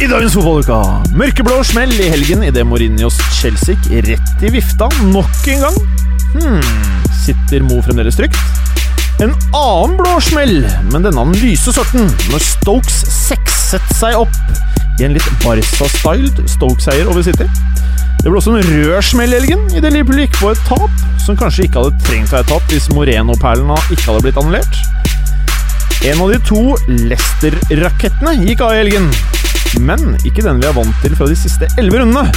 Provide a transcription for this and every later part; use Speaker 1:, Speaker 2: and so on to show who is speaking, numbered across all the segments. Speaker 1: I dagens fotballuka mørkeblå smell i helgen idet Mourinhos Chelsea gikk rett i vifta nok en gang. Hmm, sitter Mo fremdeles trygt? En annen blå smell, men denne den lyse sorten, når Stokes sekset seg opp i en litt Barca-styled Stoke-seier over City. Det ble også en rød smell i helgen idet Liverpool gikk på et tap som kanskje ikke hadde trengt å være tapt hvis Moreno-perlene ikke hadde blitt annullert. En av de to Leicester-rakettene gikk av i helgen. Men ikke den vi er vant til fra de siste elleve rundene.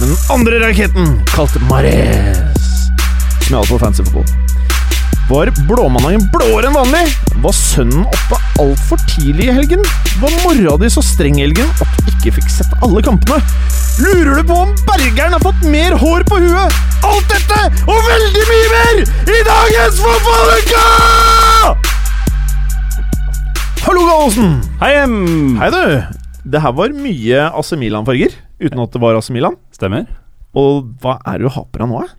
Speaker 1: Men den andre raketten, kalt Mares, som jeg hadde på fancy football. Var blåmandagen blåere enn vanlig? Var sønnen oppe altfor tidlig i helgen? Var mora di så streng i helgen at du ikke fikk sett alle kampene? Lurer du på om bergeren har fått mer hår på huet? Alt dette og veldig mye mer i dagens Fotballuka! Hallo, Gallosen!
Speaker 2: Hei hjem!
Speaker 1: Hei, du! Det her var mye AC Milan-farger, uten at det var AC Milan.
Speaker 2: Stemmer.
Speaker 1: Og hva er det du har på deg nå? eh?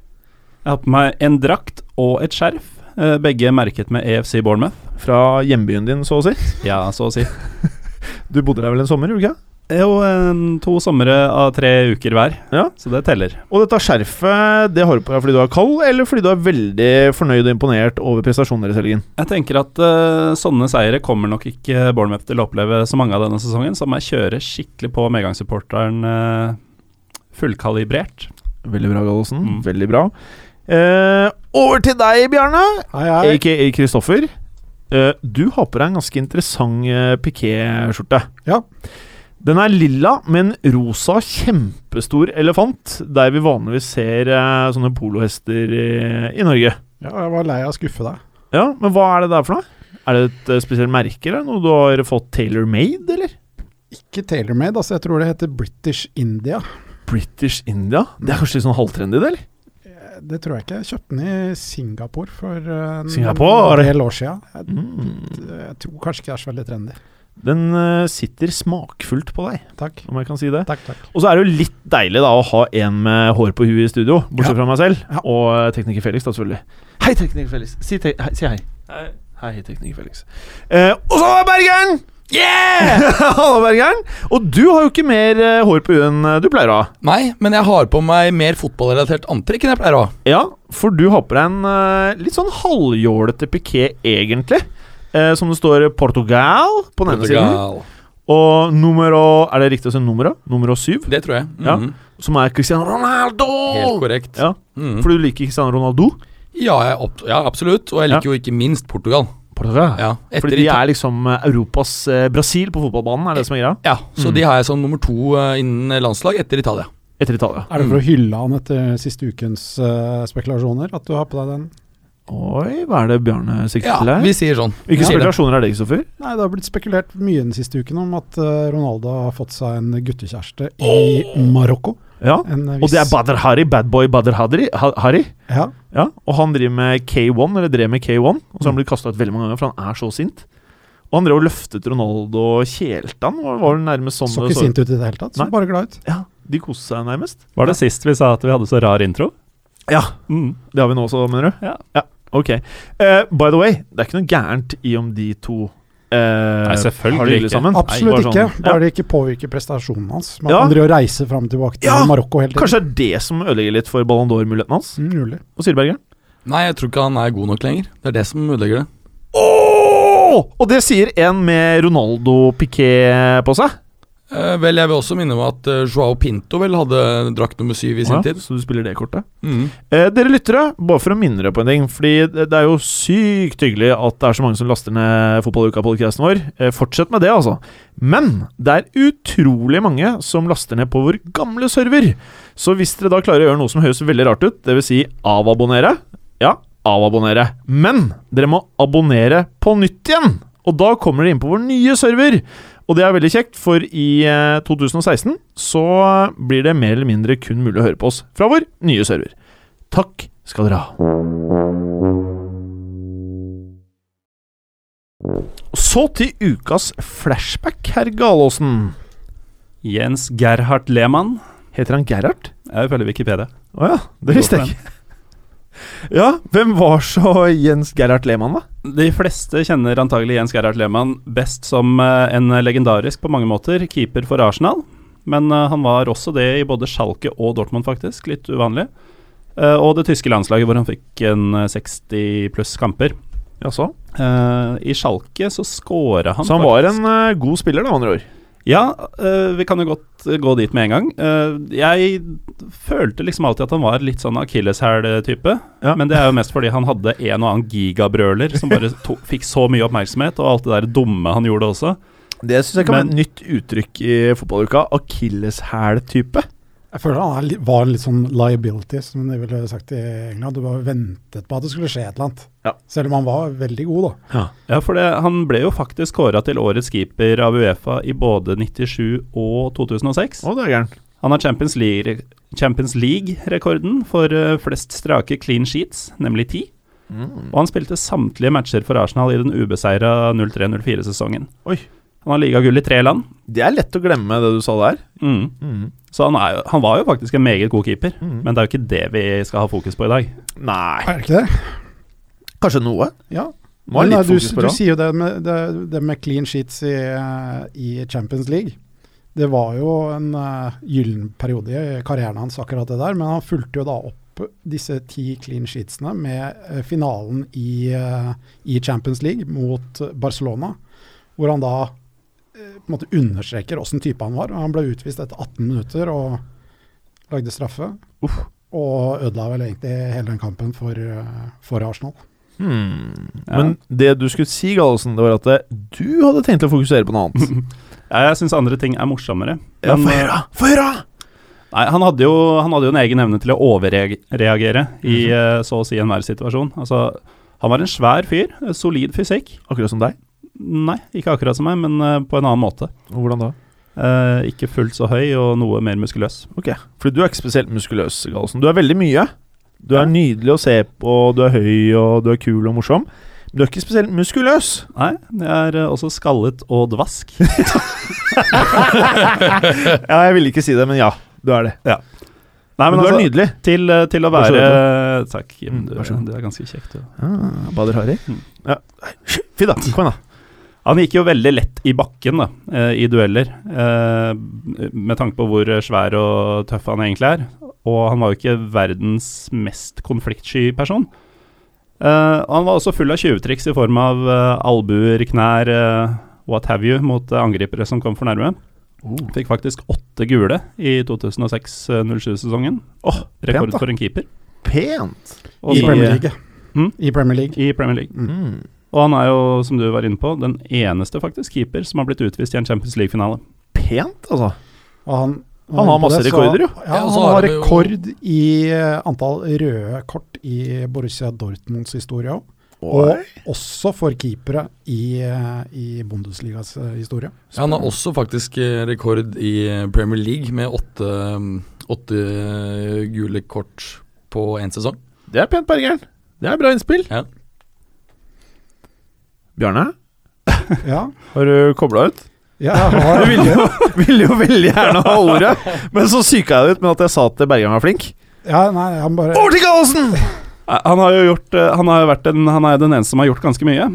Speaker 2: Jeg har på meg en drakt og et skjerf. eh, Begge merket med EFC Bournemouth.
Speaker 1: Fra hjembyen din, så å si.
Speaker 2: Ja, så å si.
Speaker 1: Du bodde der vel en sommer? gjorde du ikke?
Speaker 2: Det er Jo, en, to somre av tre uker hver,
Speaker 1: Ja.
Speaker 2: så det teller.
Speaker 1: Og dette skjerfet det har du på deg fordi du er kald, eller fordi du er veldig fornøyd og imponert over prestasjonen deres i helgen?
Speaker 2: Jeg tenker at eh, sånne seire kommer nok ikke Bournemouth til å oppleve så mange av denne sesongen, så må jeg kjøre skikkelig på medgangssupporteren eh, fullkalibrert.
Speaker 1: Veldig bra, Gallosen.
Speaker 2: Mm.
Speaker 1: Veldig bra. Eh, over til deg, Bjarne, aka Kristoffer. Eh, du har på deg en ganske interessant eh, piké-skjorte.
Speaker 3: Ja.
Speaker 1: Den er lilla med en rosa, kjempestor elefant, der vi vanligvis ser eh, sånne polohester i, i Norge.
Speaker 3: Ja, jeg var lei av å skuffe deg.
Speaker 1: Ja, Men hva er det der for noe? Er det et eh, spesielt merke? eller Noe du har fått tailor made, eller?
Speaker 3: Ikke tailor-made, altså. Jeg tror det heter British India.
Speaker 1: British India? Det er kanskje litt sånn halvtrendy, det, eller?
Speaker 3: Eh, Det tror jeg ikke. Jeg kjøpte den i Singapore for eh, en
Speaker 1: Singapore?
Speaker 3: del år siden. Jeg,
Speaker 1: Mm.
Speaker 3: jeg tror kanskje ikke det er så veldig trendy.
Speaker 1: Den eh, sitter smakfullt på deg,
Speaker 3: Takk.
Speaker 1: om jeg kan si det.
Speaker 3: Takk, takk.
Speaker 1: Og så er det jo litt deilig da å ha en med hår på huet i studio, bortsett fra meg selv,
Speaker 3: Ja.
Speaker 1: og eh, tekniker Felix, da selvfølgelig. Hei, tekniker Felix. Si, te hei, si hei. Hei, tekniker Felix. Eh, og så er Bergeren! Yeah! Hallo, Bergeren. Og du har jo ikke mer eh, hår på huet enn eh, du pleier å ha.
Speaker 4: Nei, men jeg har på meg mer fotballrelatert antrekk enn jeg pleier å ha.
Speaker 1: Ja, for du har på deg en eh, litt sånn halvjålete piké, egentlig. Eh, som det står Portugal på den ene siden. Og numero Er det riktig å si numero? Numero syv,
Speaker 4: Det tror jeg.
Speaker 1: Ja.
Speaker 4: Mhm.
Speaker 1: som er Cristiano Ronaldo!
Speaker 4: Helt korrekt.
Speaker 1: Ja,
Speaker 4: Mhm.
Speaker 1: For du liker Cristiano Ronaldo?
Speaker 4: ja, jeg opp, ja, absolutt. Og jeg liker jo ikke minst Portugal.
Speaker 1: Portugal.
Speaker 4: Ja, etter
Speaker 1: Fordi de
Speaker 4: Ita-
Speaker 1: er liksom eh, Europas eh, Brasil på fotballbanen, er det som er greia?
Speaker 4: ja, Så
Speaker 1: Mm.
Speaker 4: de har jeg som nummer to eh, innen landslag etter Italia.
Speaker 1: Etter Italia.
Speaker 3: Er det for å hylle han etter siste ukens eh, spekulasjoner at du har på deg den?
Speaker 1: Oi, hva er det Bjarne sikter
Speaker 4: Ja,
Speaker 1: til her?
Speaker 4: Vi sier sånn.
Speaker 1: Hvilke
Speaker 4: Ja.
Speaker 1: spekulasjoner er det, Kristoffer?
Speaker 3: Nei, det har blitt spekulert mye den siste uken om at eh, Ronaldo har fått seg en guttekjæreste i Marokko.
Speaker 1: Ja.
Speaker 3: En
Speaker 1: Og det er Badr Hari, bad boy Badr Hadri, ha Hari.
Speaker 3: Ja.
Speaker 1: Ja, og han driver med K1, eller drev med K1, og så har han blitt kasta ut veldig mange ganger, for han er så sint. Og han drev og løftet Ronaldo og kjelte han, og var vel nærmest sånn
Speaker 3: Så ikke sint ut i det hele tatt. Så
Speaker 1: Nei.
Speaker 3: bare glad ut.
Speaker 1: Ja, de koste seg nærmest.
Speaker 2: Var det sist vi sa at vi hadde så rar intro?
Speaker 1: Ja,
Speaker 2: Mm.
Speaker 1: det har vi nå også, mener du?
Speaker 2: Ja.
Speaker 1: Ok. Eh, by the way, det er ikke noe gærent i om de to eh,
Speaker 2: Nei, selvfølgelig
Speaker 1: har det hyggelig
Speaker 2: ikke.
Speaker 1: sammen.
Speaker 3: Absolutt
Speaker 1: Bare
Speaker 3: ikke.
Speaker 1: sånn, ja.
Speaker 3: Bare det ikke påvirker prestasjonen hans. Man
Speaker 1: Ja.
Speaker 3: kan drive og reise fram og tilbake til
Speaker 1: Ja,
Speaker 3: Marokko hele tiden.
Speaker 1: Kanskje det er det som ødelegger litt for Ballon d'Or-muligheten hans?
Speaker 3: Mm, mulig.
Speaker 1: Og Silbergeren?
Speaker 4: Nei, jeg tror ikke han er god nok lenger. Det er det som ødelegger det.
Speaker 1: Oh! Og det sier en med Ronaldo-piké på seg.
Speaker 4: Eh, vel, jeg vil også minne om at eh, Joao Pinto vel hadde drakt nummer syv i sin
Speaker 1: Ja,
Speaker 4: tid.
Speaker 1: så du spiller det kortet?
Speaker 4: Mhm.
Speaker 1: Eh, dere lyttere, bare for å minne dere på en ting Fordi det det er jo sykt hyggelig at det er så mange som laster ned Fotballuka-podcasten vår. Eh, fortsett med det, altså. Men det er utrolig mange som laster ned på vår gamle server. Så hvis dere da klarer å gjøre noe som høres veldig rart ut, dvs. Si avabonnere Ja, avabonnere. Men dere må abonnere på nytt igjen! Og da kommer dere inn på vår nye server. Og det er veldig kjekt, for i eh, 2016 så blir det mer eller mindre kun mulig å høre på oss fra vår nye server. Takk skal dere ha. Så til ukas flashback, herr Galåsen.
Speaker 2: Jens Gerhard Lehmann.
Speaker 1: Heter han Gerhard?
Speaker 2: Jeg følger Wikipedia.
Speaker 1: Å ja, det visste jeg ikke. Ja, hvem var så Jens Gerhard Lehmann, da?
Speaker 2: De fleste kjenner antagelig Jens Gerhard Lehmann best som eh, en legendarisk på mange måter keeper for Arsenal. Men eh, han var også det i både Schalke og Dortmund, faktisk. Litt uvanlig. Eh, Og det tyske landslaget, hvor han fikk en eh, 60 pluss kamper.
Speaker 1: Jaså?
Speaker 2: Eh, I Schalke så scora han
Speaker 1: Så han var en eh, god spiller, da, med andre ord.
Speaker 2: Ja, eh, vi kan jo godt eh, gå dit med en gang. Eh, jeg følte liksom alltid at han var litt sånn akilleshæl-type.
Speaker 1: Ja.
Speaker 2: Men det er jo mest fordi han hadde en og annen gigabrøler som bare to fikk så mye oppmerksomhet, og alt det der dumme han gjorde også.
Speaker 1: Det syns jeg kan være
Speaker 2: Men-
Speaker 1: et nytt uttrykk i fotballuka. Akilleshæl-type.
Speaker 3: Jeg føler han er, litt- var en litt sånn liability, som de ville sagt i England. Du bare ventet på at det skulle skje et eller annet.
Speaker 1: Ja.
Speaker 3: Selv om han var veldig god, da.
Speaker 2: Ja, for det, han ble jo faktisk kåra til årets keeper av Uefa i både 97 og 2006.
Speaker 1: Å, det er gæren.
Speaker 2: Han har Champions League- Champions League-rekorden for eh, flest strake clean sheets, nemlig ti.
Speaker 1: Mm.
Speaker 2: Og han spilte samtlige matcher for Arsenal i den ubeseira 03-04-sesongen.
Speaker 1: Oi.
Speaker 2: Han har ligagull i tre land,
Speaker 1: Det er lett å glemme det du sa der.
Speaker 2: mm. så han, er, jo- han var jo faktisk en meget god keeper.
Speaker 1: Mhm.
Speaker 2: Men det er jo ikke det vi skal ha fokus på i dag.
Speaker 1: Nei
Speaker 3: Er det ikke det?
Speaker 1: Kanskje noe?
Speaker 3: Ja.
Speaker 1: Må ha
Speaker 3: Men,
Speaker 1: litt
Speaker 3: eh, du,
Speaker 1: fokus på
Speaker 3: du
Speaker 1: det.
Speaker 3: sier jo det med, det, det med clean sheets i, eh, i Champions League. Det var jo en eh, gyllen periode i karrieren hans, akkurat det der. Men han fulgte jo da opp disse ti clean sheetsene med eh, finalen i, eh, i Champions League mot eh, Barcelona. Hvor han da eh, på en måte understreker åssen type han var. Han ble utvist etter 18 minutter og lagde straffe. Og ødela vel egentlig hele den kampen for, eh, for Arsenal.
Speaker 1: Hmm.
Speaker 2: Ja.
Speaker 1: Men det du skulle si, Gallosen, det var at eh, du hadde tenkt å fokusere på noe annet.
Speaker 2: Ja, Jeg syns andre ting er morsommere.
Speaker 1: Ja,
Speaker 2: Men,
Speaker 1: få
Speaker 2: eh,
Speaker 1: høre! Få høre!
Speaker 2: Nei, han hadde, jo, han hadde jo en egen evne til å overreagere i
Speaker 1: Mhm.
Speaker 2: eh, så å si enhver situasjon. Altså, han var en svær fyr. eh, Solid fysikk.
Speaker 1: Akkurat som deg.
Speaker 2: Nei, ikke akkurat som meg, men eh, på en annen måte.
Speaker 1: Og Hvordan da?
Speaker 2: Eh, ikke fullt så høy og noe mer muskuløs.
Speaker 1: Ok, Fordi du er ikke spesielt muskuløs, Gallosen. Du er veldig mye. Du er nydelig å se på, du er høy og du er kul og morsom. Men du er ikke spesielt muskuløs.
Speaker 2: Nei, det er eh, også skallet og dvask.
Speaker 1: Ja, jeg ville ikke si det, men ja. Du er det.
Speaker 2: Nei,
Speaker 1: men,
Speaker 2: men
Speaker 1: du
Speaker 2: altså,
Speaker 1: er nydelig.
Speaker 2: til, eh, til å
Speaker 1: Vær så
Speaker 2: være Takk. Ja, men
Speaker 1: Mm,
Speaker 2: du,
Speaker 1: vær så god.
Speaker 2: det er ganske kjekt. Ja.
Speaker 1: Ah, Bader Hari.
Speaker 2: Mm.
Speaker 1: Ja. Fy da, kom igjen, da.
Speaker 2: Han gikk jo veldig lett i bakken da, eh, i dueller, eh, med tanke på hvor svær og tøff han egentlig er. Og han var jo ikke verdens mest konfliktsky person. Eh, og han var også full av tjuvtriks i form av eh, albuer, knær, eh, what have you, mot eh, angripere som kom for nærme.
Speaker 1: Oh,
Speaker 2: Fikk faktisk åtte gule i 2006-07-sesongen.
Speaker 1: Åh,
Speaker 2: eh, Rekord
Speaker 1: pent, da.
Speaker 2: for en keeper.
Speaker 1: Pent.
Speaker 2: Og
Speaker 3: I
Speaker 2: så-
Speaker 3: Premier League.
Speaker 1: Hmm?
Speaker 2: Mm?
Speaker 3: I Premier League.
Speaker 2: I Premier League.
Speaker 4: Hmm.
Speaker 1: Mm.
Speaker 2: Og han er jo, som du var inne på, den eneste faktisk keeper som har blitt utvist i en Champions League-finale.
Speaker 1: Pent, altså.
Speaker 3: Og han,
Speaker 1: Han har
Speaker 3: inne på
Speaker 1: masse
Speaker 3: det, så-
Speaker 1: rekorder, jo.
Speaker 4: Ja,
Speaker 3: Ja, altså,
Speaker 4: og så
Speaker 3: han
Speaker 4: har
Speaker 3: har
Speaker 4: han jo-
Speaker 3: rekord i eh, antall røde kort i Borussia Dortmunds historie òg. Og
Speaker 1: Oi.
Speaker 3: også for keepere i, eh, i Bundesligas eh, historie.
Speaker 4: Ja, han har også faktisk eh, rekord i eh, Premier League med åtte, mm, åtte eh, gule kort på én sesong.
Speaker 1: Det er pent, Bergeren. Det er bra innspill.
Speaker 4: Ja.
Speaker 1: Bjarne,
Speaker 3: Ja,
Speaker 1: har du kobla ut?
Speaker 3: ja jeg har,
Speaker 1: Du ville jo, ville jo veldig gjerne ha ordet, men så psyka jeg det ut med at jeg sa at Bergeren var flink.
Speaker 3: ja, nei, han bare
Speaker 1: Over til Gallosen!
Speaker 2: Eh, Han har jo gjort eh, Han har jo vært den, han er den eneste som har gjort ganske mye.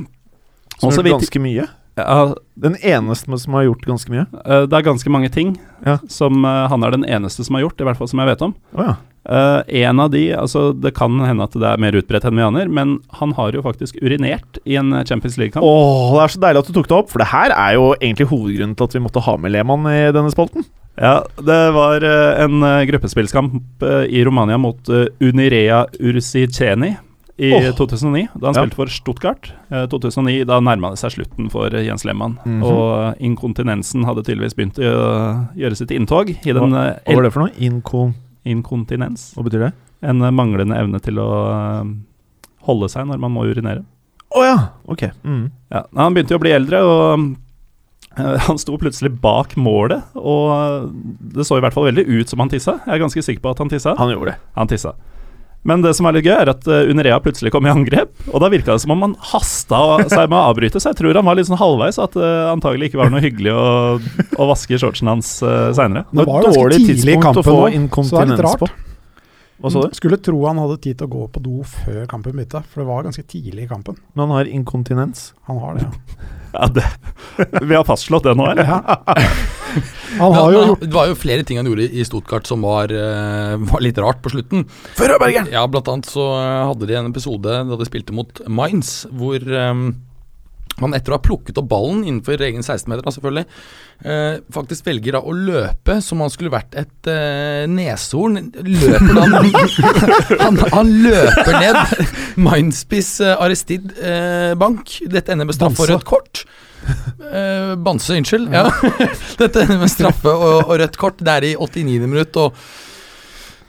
Speaker 1: Som har
Speaker 2: Også
Speaker 1: gjort
Speaker 2: vidt-
Speaker 1: ganske mye.
Speaker 2: Ja,
Speaker 1: Den eneste som har gjort ganske mye.
Speaker 2: eh, det er ganske mange ting
Speaker 1: Ja.
Speaker 2: som eh, han er den eneste som har gjort, i hvert fall som jeg vet om.
Speaker 1: Å ja.
Speaker 2: Eh, en av de altså Det kan hende at det er mer utbredt enn vi aner, men han har jo faktisk urinert i en eh, Champions League-kamp.
Speaker 1: Åh, det er så deilig at du tok det opp, for det her er jo egentlig hovedgrunnen til at vi måtte ha med Lehmann i denne spalten.
Speaker 2: Ja, det var eh, en eh, gruppespillskamp eh, i Romania mot eh, Unirea Ursiceni i
Speaker 1: Åh.
Speaker 2: 2009, da han
Speaker 1: Ja.
Speaker 2: spilte for Stuttgart. Eh, 2009, da nærma det seg slutten for eh, Jens Lehmann.
Speaker 1: Mhm.
Speaker 2: Og eh, inkontinensen hadde tydeligvis begynt å gjø- gjøre sitt inntog i den eh,
Speaker 1: Hva
Speaker 2: el-
Speaker 1: var det for noe? Inko...
Speaker 2: Inkontinens.
Speaker 1: Hva betyr det?
Speaker 2: En eh, manglende evne til å eh, holde seg når man må urinere.
Speaker 1: Å ja, ok. Mm.
Speaker 2: Ja, nei, han begynte jo å bli eldre, og Eh, Han sto plutselig bak målet, og eh, det så i hvert fall veldig ut som han tissa. Jeg er ganske sikker på at han tissa.
Speaker 1: Han gjorde det.
Speaker 2: Han tissa. Men det som er litt gøy, er at eh, Unerea plutselig kom i angrep, og da virka det som om han hasta seg med å avbryte, så jeg tror han var litt sånn halvveis, og at det antagelig ikke var noe hyggelig å, å vaske shortsen hans uh, seinere.
Speaker 3: Det var jo ganske tidlig i
Speaker 1: å
Speaker 3: kampen
Speaker 1: få
Speaker 3: nå, så det er litt
Speaker 1: inkontinens
Speaker 3: rart.
Speaker 1: på. Hva sa du?
Speaker 3: Skulle tro han hadde tid til å gå på do før kampen begynte, for det var ganske tidlig i kampen.
Speaker 1: Men han har inkontinens.
Speaker 3: Han har det, ja.
Speaker 2: Ja, det, vi har fastslått det nå, eller?
Speaker 3: Han har jo
Speaker 4: Men
Speaker 3: gjort
Speaker 4: Det var jo flere ting han gjorde i Stuttgart som var, eh, var litt rart på slutten.
Speaker 1: Før Bergen!
Speaker 4: Ja, blant annet så eh, hadde de en episode da de spilte mot Mainz, hvor eh, man etter å ha plukket opp ballen innenfor egen 16-meter, da, selvfølgelig, eh, faktisk velger da å løpe som han skulle vært et eh, neshorn. Løper da han, han løper ned Mindspiss eh, Aristid eh, Bank. Dette ender med straff og
Speaker 3: Banse.
Speaker 4: rødt kort. Eh, Banse, unnskyld. Ja. Dette ender med straffe og, og rødt kort. Det er i 89. minutt. og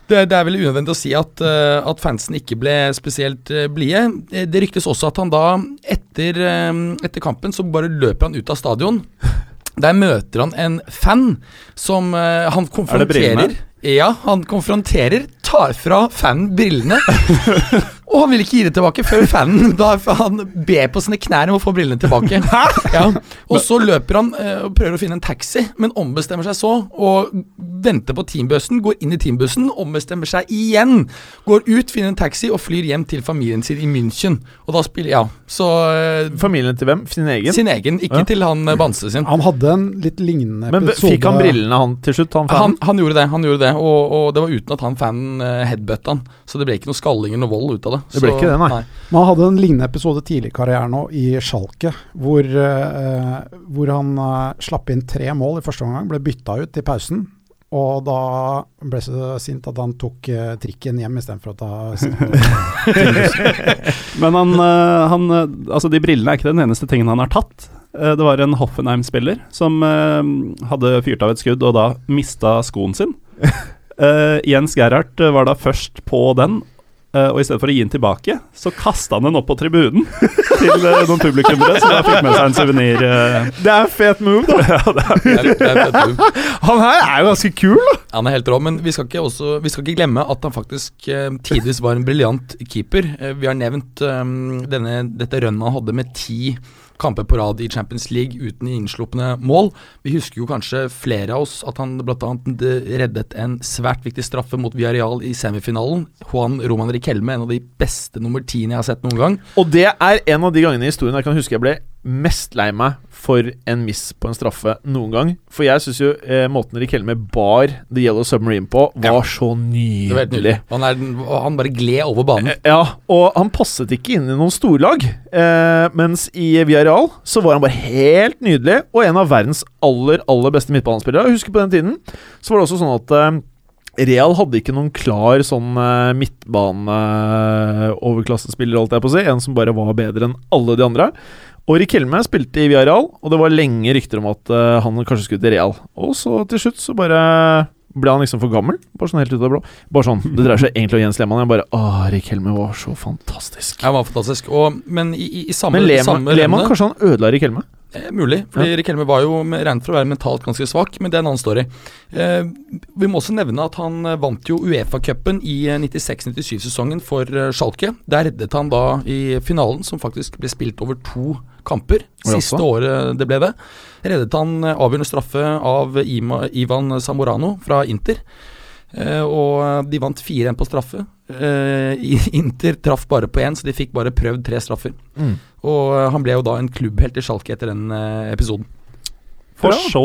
Speaker 4: det, det er vel unødvendig å si at, eh, at fansen ikke ble spesielt eh, blide. Eh, Det ryktes også at han da, etter, eh, etter kampen, så bare løper han ut av stadion. Der møter han en fan som eh, han
Speaker 2: Er det brillene?
Speaker 4: konfronterer. Ja, han konfronterer, tar fra fanen brillene. og han vil ikke gi det tilbake før fanen da han ber på sine knær om å få brillene tilbake. Ja. Og så løper han eh, og prøver å finne en taxi, men ombestemmer seg så. Og venter på teambussen, går inn i teambussen, ombestemmer seg igjen. Går ut, finner en taxi og flyr hjem til familien sin i München. Og da spiller Ja, så eh,
Speaker 1: Familien til hvem? Sin egen?
Speaker 4: Sin egen, ikke
Speaker 1: Ja.
Speaker 4: til han eh, Bamse sin.
Speaker 3: Han hadde en litt lignende
Speaker 1: Men
Speaker 3: episode.
Speaker 1: fikk han brillene, han til slutt? Han,
Speaker 4: Han,
Speaker 1: fanen?
Speaker 4: han gjorde det, han gjorde det og, og det var uten at han fanen eh, headbutta han. Så det ble ikke noe skalling eller noe vold ut av det.
Speaker 1: Det ble
Speaker 4: så,
Speaker 1: ikke det, nei.
Speaker 3: Men han hadde en lignende episode tidlig i karrieren nå, i Schalke, hvor, eh, hvor han eh, slapp inn tre mål i første omgang, ble bytta ut i pausen. Og da ble så sint at han tok eh, trikken hjem istedenfor å ta
Speaker 2: Men han, eh, han eh, Altså, de brillene er ikke den eneste tingen han har tatt. Eh, Det var en Hoffenheim-spiller som eh, hadde fyrt av et skudd og da mista skoen sin. Eh, Jens Gerhardt eh, var da først på den, eh, og i stedet for å gi den tilbake, så kasta han den opp på tribunen til eh, noen publikummere, som da fikk med seg en eh. suvenir.
Speaker 1: Det er fet move, da!
Speaker 4: Det er, det er, fett, du.
Speaker 1: Han her er jo ganske kul, da!
Speaker 4: Han er helt rå, men vi skal ikke, også, vi skal ikke glemme at han faktisk eh, tidvis var en briljant keeper. Eh, vi har nevnt eh, denne, dette rønnet han hadde med ti kamper på rad i Champions League uten innslupne mål. Vi husker jo kanskje flere av oss at han bl.a. reddet en svært viktig straffe mot Villarreal i semifinalen. Juan Roman Riquelme, en av de beste nummer tiene jeg har sett noen gang.
Speaker 1: Og det er en av de gangene i historien jeg kan huske jeg ble mest lei meg for en miss på en straffe noen gang. For jeg syns jo eh, måten Rikelme bar The Yellow Submarine på, var så
Speaker 4: Det var helt
Speaker 1: nydelig.
Speaker 4: nydelig. Eh, Han, er, den- og han bare gled over banen.
Speaker 1: Eh, Ja, og han passet ikke inn i noen storlag. Eh, mens i Villarreal så var han bare helt nydelig, og en av verdens aller, aller beste midtbanespillere. Jeg husker på den tiden så var det også sånn at eh, Real hadde ikke noen klar sånn eh, midtbaneoverklassespiller, holdt jeg på å si. En som bare var bedre enn alle de andre. Og Rikelme spilte i Villarreal, og det var lenge rykter om at eh, han kanskje skulle til Real. Og så til slutt så bare ble han liksom for gammel. Bare sånn helt ut av det blå. Bare sånn, Det dreier seg egentlig om Jens Lehmann. Jeg bare Åh, Erik Helme var så fantastisk.
Speaker 4: Ja, Han var fantastisk. Og, men i, i, i samme,
Speaker 1: Men Lehmann,
Speaker 4: samme
Speaker 1: Lehmann
Speaker 4: rønnet-
Speaker 1: kanskje han ødela Erik Helme?
Speaker 4: Eh, mulig, fordi Rikelme var jo med- regnet for å være mentalt ganske svak, men det er en annen story. Eh, vi må også nevne at han eh, vant jo Uefa-cupen i eh, 96-97-sesongen for eh, Schalke. Der reddet han da i finalen, som faktisk ble spilt over to kamper.
Speaker 1: Oi, altså.
Speaker 4: Siste året det ble det. Reddet han eh, avgjørende straffe av Ima, Ivan Samorano fra Inter. Eh, og de vant 4-1 på straffe. Eh, i- Inter traff bare på én, så de fikk bare prøvd tre straffer. Og eh, han ble jo da en klubbhelt i Schalke etter den eh, episoden.
Speaker 2: For så,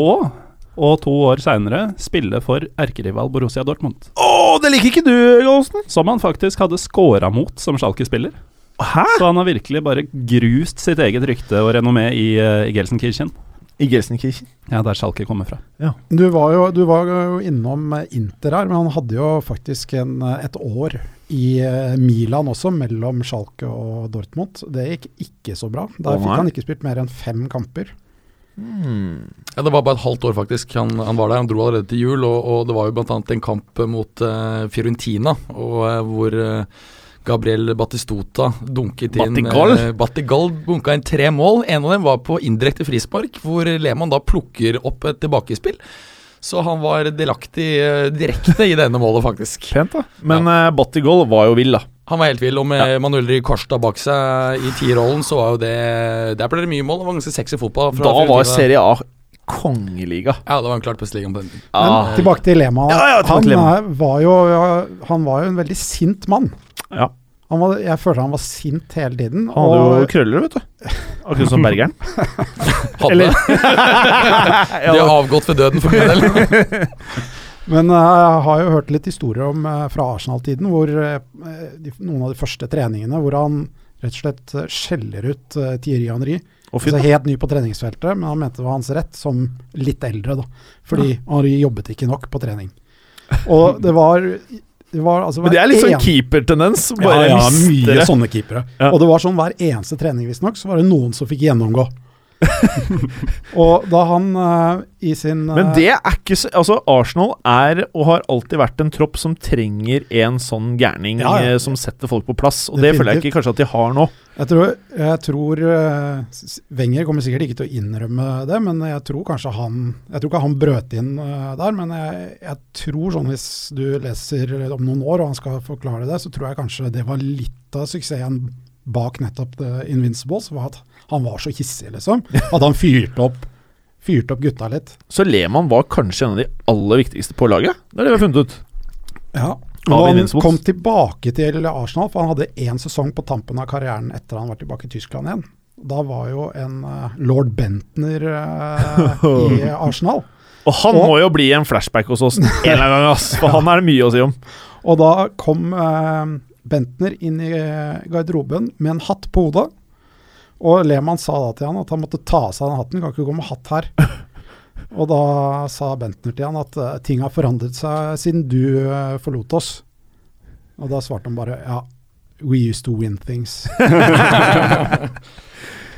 Speaker 2: og to år seinere, spille for erkerival Borussia Dortmund.
Speaker 1: Å, det liker ikke du, Gallosen!
Speaker 2: Som han faktisk hadde scora mot som Schalke-spiller.
Speaker 1: Hæ?
Speaker 2: Så han har virkelig bare grust sitt eget rykte og renommé i, eh, i Gelsenkirchen.
Speaker 1: I Gelsenkirchen.
Speaker 2: Ja, der Schalke kommer fra.
Speaker 3: Du var jo, du var jo innom eh, Inter her, men han hadde jo faktisk en, eh, et år i eh, Milan også, mellom Schalke og Dortmund. Det gikk ikke så bra. Der
Speaker 1: Å,
Speaker 3: fikk
Speaker 1: nei.
Speaker 3: han ikke spilt mer enn fem kamper.
Speaker 1: Mm.
Speaker 4: Ja, Det var bare et halvt år, faktisk. Han, han var der, han dro allerede til jul. Og, og det var jo bl.a. en kamp eh, mot eh, Fiorentina, og, eh, hvor eh, Gabriel Batistota dunket inn
Speaker 1: Batigol?
Speaker 4: eh, Batigol bunka inn tre mål. En av dem var på indirekte frispark, hvor Lehmann da plukker opp et tilbakespill. Så han var delaktig eh, direkte i det ene målet, faktisk.
Speaker 1: Pent, da. Men ja. Bottigol var jo vill, da.
Speaker 4: Han var helt vill, og med Manuel Ricorsta bak seg i tierrollen, så var jo det Der ble det mye mål. Det var ganske sexy fotball. fra
Speaker 1: Da var
Speaker 4: Fiorentina.
Speaker 1: Serie A kongeliga.
Speaker 4: Ja, det var en klart beste ligaen på den tiden.
Speaker 1: Ah.
Speaker 3: Men tilbake til Lema.
Speaker 1: Ja, ja, tilbake
Speaker 3: han,
Speaker 1: til Lema.
Speaker 3: er- Var jo, han var jo en veldig sint mann.
Speaker 1: Ja.
Speaker 3: Han var, jeg følte han var sint hele tiden.
Speaker 1: Han hadde jo
Speaker 3: Og
Speaker 1: krøller, vet du. Akkurat som Bergeren.
Speaker 4: Hadde de har avgått ved døden for min del.
Speaker 3: Men eh, jeg har jo hørt litt historier om eh, fra Arsenal-tiden, hvor eh, de, noen av de første treningene hvor han rett og slett eh, skjeller ut eh, Thierry Henry.
Speaker 1: Og
Speaker 3: Altså
Speaker 1: fyr,
Speaker 3: helt ny på treningsfeltet, men han mente det var hans rett som litt eldre, da. Fordi Henry jobbet ikke nok på trening. Og det var, det var altså,
Speaker 1: Men det
Speaker 3: hver
Speaker 1: er litt sånn
Speaker 3: en-
Speaker 1: keepertendens. Bare
Speaker 3: ja, ja,
Speaker 1: mye
Speaker 3: mye
Speaker 1: sånn.
Speaker 3: sånne keepere.
Speaker 1: Ja.
Speaker 3: Og det var sånn hver eneste trening, visstnok, så var det noen som fikk gjennomgå. og da han eh, i sin eh,
Speaker 1: Men det er ikke så Altså, Arsenal er og har alltid vært en tropp som trenger en sånn gærning
Speaker 3: Ja, ja.
Speaker 1: eh, som setter folk på plass, og det føler jeg ikke kanskje at de har nå.
Speaker 3: Jeg tror, jeg tror eh, S- Wenger kommer sikkert ikke til å innrømme det, men jeg tror kanskje han Jeg tror ikke han brøt inn eh, der, men jeg, jeg tror sånn hvis du leser om noen år og han skal forklare det, så tror jeg kanskje det var litt av suksessen bak nettopp The Invincibles, var at han var så hissig, liksom. At han fyrte opp, fyrte opp gutta litt.
Speaker 1: Så Lehmann var kanskje en av de aller viktigste på laget. Det er det vi har funnet ut.
Speaker 3: Ja.
Speaker 1: Av
Speaker 3: Og han
Speaker 1: Invincibles.
Speaker 3: kom tilbake til Arsenal, for han hadde én sesong på tampen av karrieren etter han var tilbake i Tyskland igjen. Da var jo en eh, lord Bentner eh, i Arsenal.
Speaker 1: Og han
Speaker 3: Og-
Speaker 1: må jo bli en flashback hos oss en eller annen gang, ass. For han er det mye å si om.
Speaker 3: Og da kom eh, Bentner inn i eh, garderoben med en hatt på hodet. Og Lehmann sa da til han at han måtte ta av seg den hatten, kan ikke gå med hatt her. Og da sa Bentner til han at eh, ting har forandret seg siden du eh, forlot oss. Og da svarte han bare ja, we used to win things.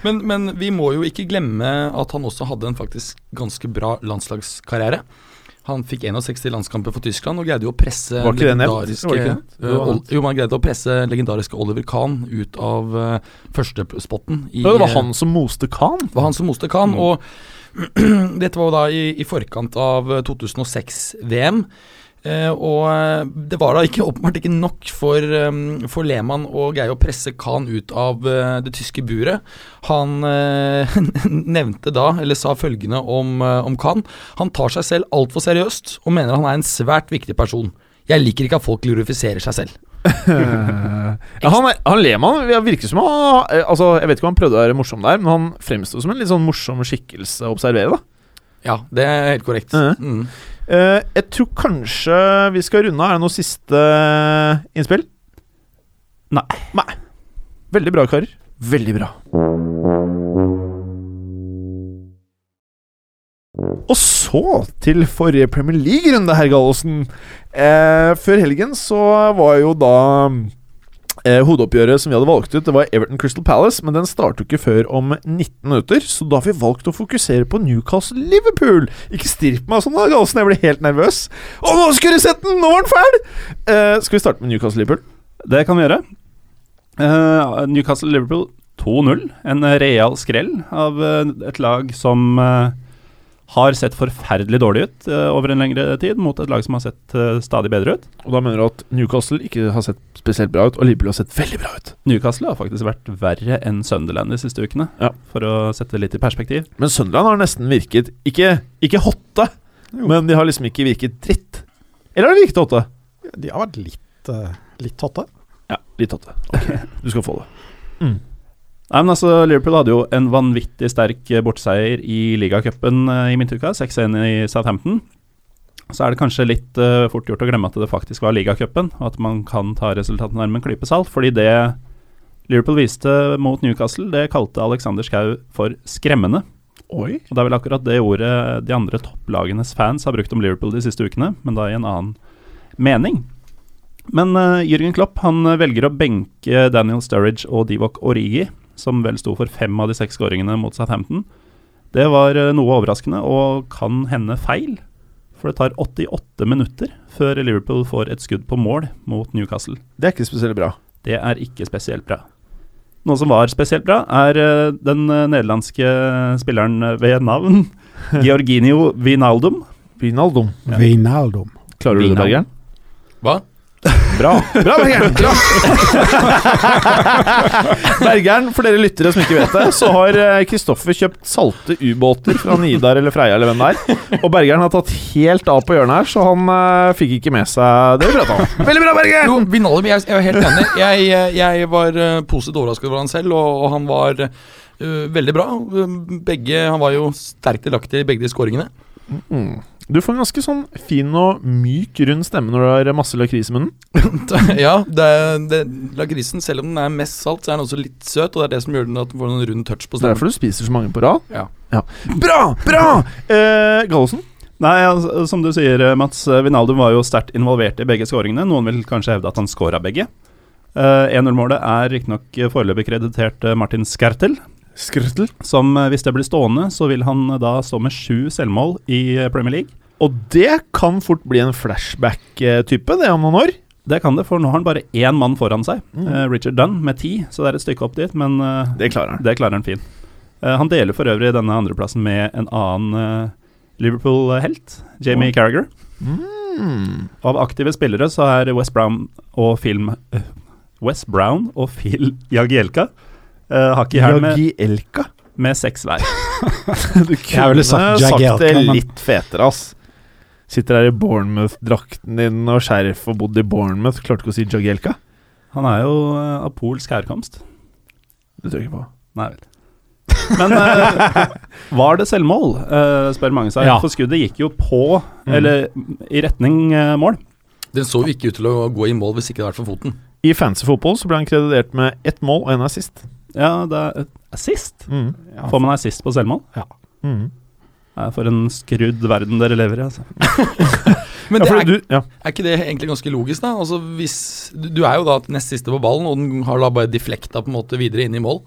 Speaker 4: Men, men vi må jo ikke glemme at han også hadde en faktisk ganske bra landslagskarriere. Han fikk 61 landskamper for Tyskland og greide jo å presse
Speaker 1: Var ikke det nevnt?
Speaker 4: legendariske-
Speaker 1: Var det ikke det? Det var
Speaker 4: Eh, Ol-
Speaker 1: nevnt.
Speaker 4: Jo, man greide å presse legendariske Oliver Kahn ut av eh, førstespotten. i-
Speaker 1: Ja, det var han som moste Khan.
Speaker 4: var han som moste Khan. Og dette var jo da i, i forkant av eh, 2006-VM. Eh, og eh, det var da ikke åpenbart ikke nok for, eh, for Lehmann å greie å presse Khan ut av eh, det tyske buret. Han eh, nevnte da, eller sa følgende om, eh, om Khan. Han tar seg selv altfor seriøst og mener han er en svært viktig person. Jeg liker ikke at folk glorifiserer seg selv.
Speaker 1: Ja, han, er- han Lehmann ja, virker som han, eh, altså, Jeg vet ikke om han prøvde å være morsom der, men han fremsto som en litt sånn morsom skikkelse å observere. da
Speaker 4: Ja, det er helt korrekt.
Speaker 1: Mhm.
Speaker 4: Mm.
Speaker 1: Eh, Jeg tror kanskje vi skal runde av. Er det noe siste innspill?
Speaker 2: Nei.
Speaker 1: Nei. Veldig bra, karer. Veldig bra. Og så til forrige Premier League-runde, herr Gallosen. Eh, før helgen så var jo da eh, hodeoppgjøret som vi hadde valgt ut, det var Everton Crystal Palace, men den starter jo ikke før om 19 minutter, så da har vi valgt å fokusere på Newcastle Liverpool. Ikke stirp meg sånn, da, Gallosen. Jeg blir helt nervøs. Å, nå skulle du sett den! Nå var den fæl! Eh, skal vi starte med Newcastle Liverpool?
Speaker 2: Det kan vi gjøre. Eh, Newcastle-Liverpool 2-0. En eh, real skrell av eh, et lag som eh, har sett forferdelig dårlig ut eh, over en lengre tid, mot et lag som har sett eh, stadig bedre ut.
Speaker 1: Og da mener du at Newcastle ikke har sett spesielt bra ut, og Liverpool har sett veldig bra ut.
Speaker 2: Newcastle har faktisk vært verre enn Sunderland de siste ukene,
Speaker 1: Ja.
Speaker 2: for å sette det litt i perspektiv.
Speaker 1: Men Sunderland har nesten virket Ikke, ikke hotte,
Speaker 3: Jo.
Speaker 1: men de har liksom ikke virket dritt. Eller har de virket hotte?
Speaker 3: De har vært litt, eh, litt hotte.
Speaker 1: Ja, litt hotte. Du skal få det.
Speaker 2: Nei, men altså, Liverpool hadde jo en vanvittig sterk eh, borteseier i ligacupen eh, i midtuka, 6-1 i Southampton. Så er det kanskje litt eh, fort gjort å glemme at det faktisk var ligacupen, og at man kan ta resultatene der med en klype salt, fordi det Liverpool viste mot Newcastle, det kalte Alexander Schou for skremmende.
Speaker 1: Oi.
Speaker 2: Og det er vel akkurat det ordet de andre topplagenes fans har brukt om Liverpool de siste ukene, men da i en annen mening. Men eh, Jürgen Klopp han eh, velger å benke eh, Daniel Sturridge og Divok Origi, som vel sto for fem av de seks skåringene mot Southampton. Det var eh, noe overraskende og kan hende feil, for det tar 88 minutter før Liverpool får et skudd på mål mot Newcastle.
Speaker 1: Det er ikke spesielt bra.
Speaker 2: Det er ikke spesielt bra. Noe som var spesielt bra, er eh, den eh, nederlandske spilleren eh, ved navn Georginio Vinaldum.
Speaker 1: Vinaldum.
Speaker 2: Ja.
Speaker 3: Wijnaldum.
Speaker 1: Klarer du det,
Speaker 2: Vinal.
Speaker 1: Bergeren?
Speaker 4: Hva?
Speaker 1: Bra. Bra, Bergeren! Bra. Bergeren, for dere lyttere som ikke vet det, så har eh, Kristoffer kjøpt salte ubåter fra Nidar eller Freia eller hvem det er. Og Bergeren har tatt helt av på hjørnet her, så han eh, fikk ikke med seg det vi prata om. Veldig bra, Bergeren!
Speaker 4: Jo, Vinaldum, jeg, jeg var helt enig. Jeg, eh, jeg var eh, positivt overrasket over han selv, og, og han var eh, veldig bra. Begge, han var jo sterkt delaktig i begge de skåringene.
Speaker 1: Mm. Du får en ganske sånn fin og myk, rund stemme når du har masse lakris i munnen.
Speaker 4: ja, det, det, lakrisen, selv om den er mest salt, så er den også litt søt, og det er det som gjør den at den får en rund touch på
Speaker 1: Det er
Speaker 4: stemmen.
Speaker 1: derfor du spiser så mange på rad.
Speaker 4: Ja.
Speaker 1: Bra! Bra! Eh, Gallosen?
Speaker 2: Nei, altså, som du sier, eh, Mats. eh, Vinaldum var jo sterkt involvert i begge skåringene. Noen vil kanskje hevde at han scora begge. Eh, 1-0-målet er riktignok eh, foreløpig kreditert eh, Martin Skertel,
Speaker 1: Skrøttel.
Speaker 2: som eh, hvis det blir stående, så vil han eh, da stå med sju selvmål i eh, Premier League.
Speaker 1: Og det kan fort bli en flashback-type, det om noen år.
Speaker 2: Det kan det, for nå har han bare én mann foran seg.
Speaker 1: Mm.
Speaker 2: Eh, Richard Dunn med ti, så det er et stykke opp dit, men eh,
Speaker 1: Det klarer han.
Speaker 2: det klarer han fint. Eh, han deler for øvrig denne andreplassen med en annen eh, Liverpool-helt, Jamie Carragher.
Speaker 1: Mm.
Speaker 2: Av aktive spillere så er West Brown og film eh, West Brown og Phil Jagielka eh, hakk i hæl med,
Speaker 1: Jagielka.
Speaker 2: med seks hver.
Speaker 1: Du
Speaker 3: Jeg ville sagt Jagielka,
Speaker 1: det
Speaker 3: men-
Speaker 1: litt fetere, ass. Sitter her i Bournemouth-drakten din og skjerf og bodd i Bournemouth. Klarte ikke å si Jagielka.
Speaker 2: Han er jo eh, av polsk herkomst.
Speaker 1: Det tror jeg ikke på.
Speaker 2: Nei vel. Men eh, var det selvmål, eh, spør mange seg.
Speaker 3: Ja.
Speaker 2: For skuddet gikk jo på, eller i retning eh, mål.
Speaker 4: Den så jo ikke ut til å gå i mål hvis ikke det hadde vært for foten.
Speaker 1: I fancy fotball så ble han kreditert med ett mål og en assist.
Speaker 2: Ja, det er eh, assist.
Speaker 1: Mm.
Speaker 2: Får man assist på selvmål?
Speaker 1: Mm.
Speaker 2: Eh, For en skrudd verden dere lever i, altså.
Speaker 4: Men
Speaker 1: ja,
Speaker 4: det
Speaker 1: for
Speaker 4: er,
Speaker 1: du, ja.
Speaker 4: er ikke det egentlig ganske logisk, da? Altså hvis, du, du er jo da nest siste på ballen, og den har da bare deflekta på en måte videre inn i mål.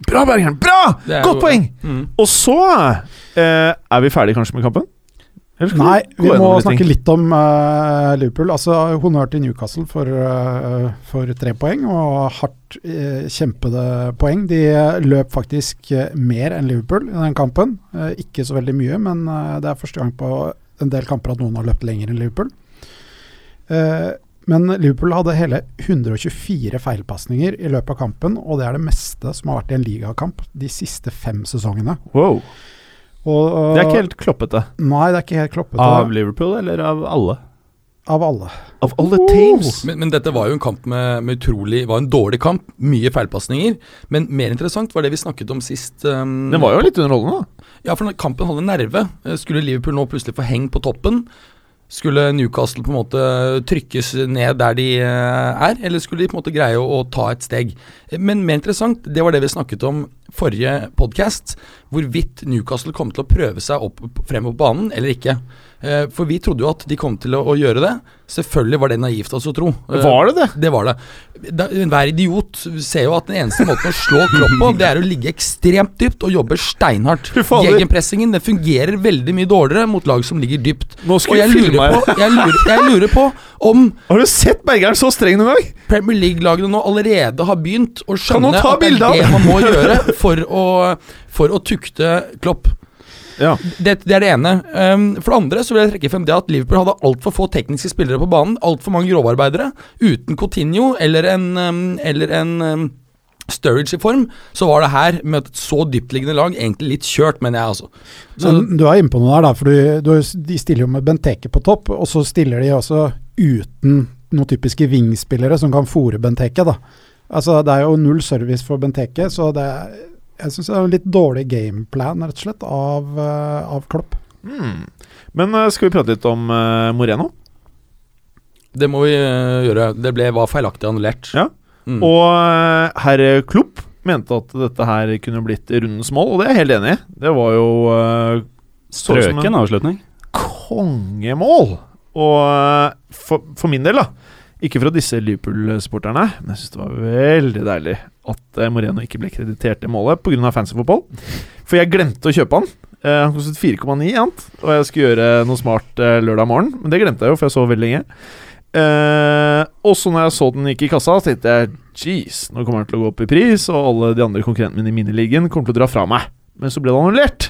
Speaker 1: Bra, Bergeren! Bra!
Speaker 4: Det er
Speaker 1: Godt
Speaker 4: jo-
Speaker 1: poeng!
Speaker 4: Mm.
Speaker 1: Og så eh, er vi ferdige kanskje med kampen? Eller skal
Speaker 3: Nei,
Speaker 1: gå
Speaker 3: vi må
Speaker 1: gjennom litt
Speaker 3: snakke
Speaker 1: ting?
Speaker 3: litt om eh, Liverpool. Altså, Honnør til Newcastle for, eh, for tre poeng, og hardt eh, kjempede poeng. De løp faktisk eh, mer enn Liverpool i den kampen. Eh, ikke så veldig mye, men eh, det er første gang på en del kamper at noen har løpt lenger enn Liverpool. Eh, men Liverpool hadde hele 124 feilpasninger i løpet av kampen, og det er det meste som har vært i en ligakamp de siste fem sesongene.
Speaker 1: Wow.
Speaker 3: Og,
Speaker 1: Det er ikke helt kloppete.
Speaker 3: Nei, det er ikke helt kloppete.
Speaker 2: Av Liverpool eller av alle?
Speaker 3: av alle.
Speaker 1: Of all the teams!
Speaker 4: Men, men dette var jo en kamp med, med utrolig Var en dårlig kamp, mye feilpasninger. Men mer interessant var det vi snakket om sist. Um,
Speaker 1: Den var jo litt underholdende, da.
Speaker 4: Ja, for når kampen hadde nerve. eh, Skulle Liverpool nå plutselig få heng på toppen? Skulle Newcastle på en måte trykkes ned der de eh, er, eller skulle de på en måte greie å, å ta et steg? Eh, Men mer interessant, det var det vi snakket om forrige podkast, hvorvidt Newcastle kom til å prøve seg opp, frem på banen eller ikke. Eh, For vi trodde jo at de kom til å, å gjøre det. Selvfølgelig var det naivt av oss å tro. Eh,
Speaker 1: Var det det?
Speaker 4: det var det. Da, enhver idiot ser jo at den eneste måten å slå kropp på, det er å ligge ekstremt dypt og jobbe steinhardt.
Speaker 1: Fy fader.
Speaker 4: Gegenpressingen den fungerer veldig mye dårligere mot lag som ligger dypt.
Speaker 1: Nå
Speaker 4: Og
Speaker 1: skulle
Speaker 4: jeg
Speaker 1: du filme
Speaker 4: lurer,
Speaker 1: her.
Speaker 4: på, jeg, lurer, jeg lurer på om
Speaker 1: Har du sett Bergeren så streng noen gang?
Speaker 4: Premier League-lagene nå allerede har begynt å
Speaker 1: Kan
Speaker 4: skjønne
Speaker 1: noen ta
Speaker 4: at det
Speaker 1: bilde av
Speaker 4: er det
Speaker 1: det?
Speaker 4: man må gjøre for å, for å tukte Klopp.
Speaker 1: Ja.
Speaker 4: Det, det er det ene. Ehm, for det andre så vil jeg trekke frem det at Liverpool hadde altfor få tekniske spillere på banen. Altfor mange grovarbeidere. Uten Coutinho eller en, ehm, eller en ehm, Sturridge i form, så var det her, med et så dyptliggende lag, egentlig litt kjørt, mener jeg, altså. Så,
Speaker 3: Men du er inne på noe der, da, for du, du, de stiller jo med Benteke på topp, og så stiller de også uten noen typiske wingspillere som kan fòre Benteke. da. Altså, Det er jo null service for Benteke, så det er, jeg syns det er en litt dårlig gameplan rett og slett, av, eh, av Klopp.
Speaker 1: Hmm. Men eh, skal vi prate litt om eh, Moreno?
Speaker 4: det må vi eh, gjøre. Det ble, var feilaktig annullert.
Speaker 1: Ja.
Speaker 4: Mm.
Speaker 1: Og eh, herr Klopp mente at dette her kunne blitt rundens mål, og det er jeg helt enig i. Det var jo eh, så ut som en-
Speaker 2: Strøken avslutning.
Speaker 1: kongemål. Og eh, for, for min del, da ikke for å disse Liverpool-sporterne, men jeg syns det var veldig deilig at eh, Moreno ikke ble kreditert i målet pga. fancyfotball. For jeg glemte å kjøpe han. Eh, Han kostet 4,9, sant? og jeg skulle gjøre noe smart eh, lørdag morgen. Men det glemte jeg jo, for jeg sov veldig lenge. Eh, Og så når jeg så den gikk i kassa, så tenkte jeg jeez, nå kommer den til å gå opp i pris, og alle de andre konkurrentene mine i miniligaen kommer til å dra fra meg. Men så ble det annullert.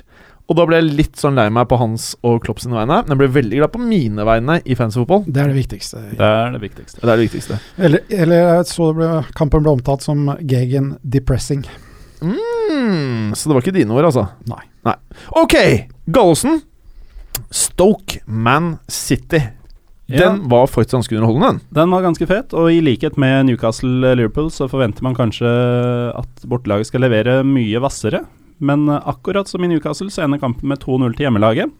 Speaker 1: Og da ble jeg litt sånn lei meg på hans og Klopp sine vegne, men jeg ble veldig glad på mine vegne i fancyfotball.
Speaker 3: Det er det viktigste.
Speaker 2: Det er det viktigste.
Speaker 1: Det er det viktigste.
Speaker 3: Eller, eller jeg så det ble, kampen ble omtalt som Gegen depressing.
Speaker 1: Mm, så det var ikke dine ord, altså?
Speaker 3: Nei.
Speaker 1: Ok, Gallosen. Stoke Man City.
Speaker 2: Ja.
Speaker 1: Den var faktisk ganske underholdende. den.
Speaker 2: Den var ganske fet, og i likhet med Newcastle-Liverpool så forventer man kanskje at bortelaget skal levere mye hvassere, men eh, akkurat som i Newcastle så ender kampen med 2-0 til hjemmelaget.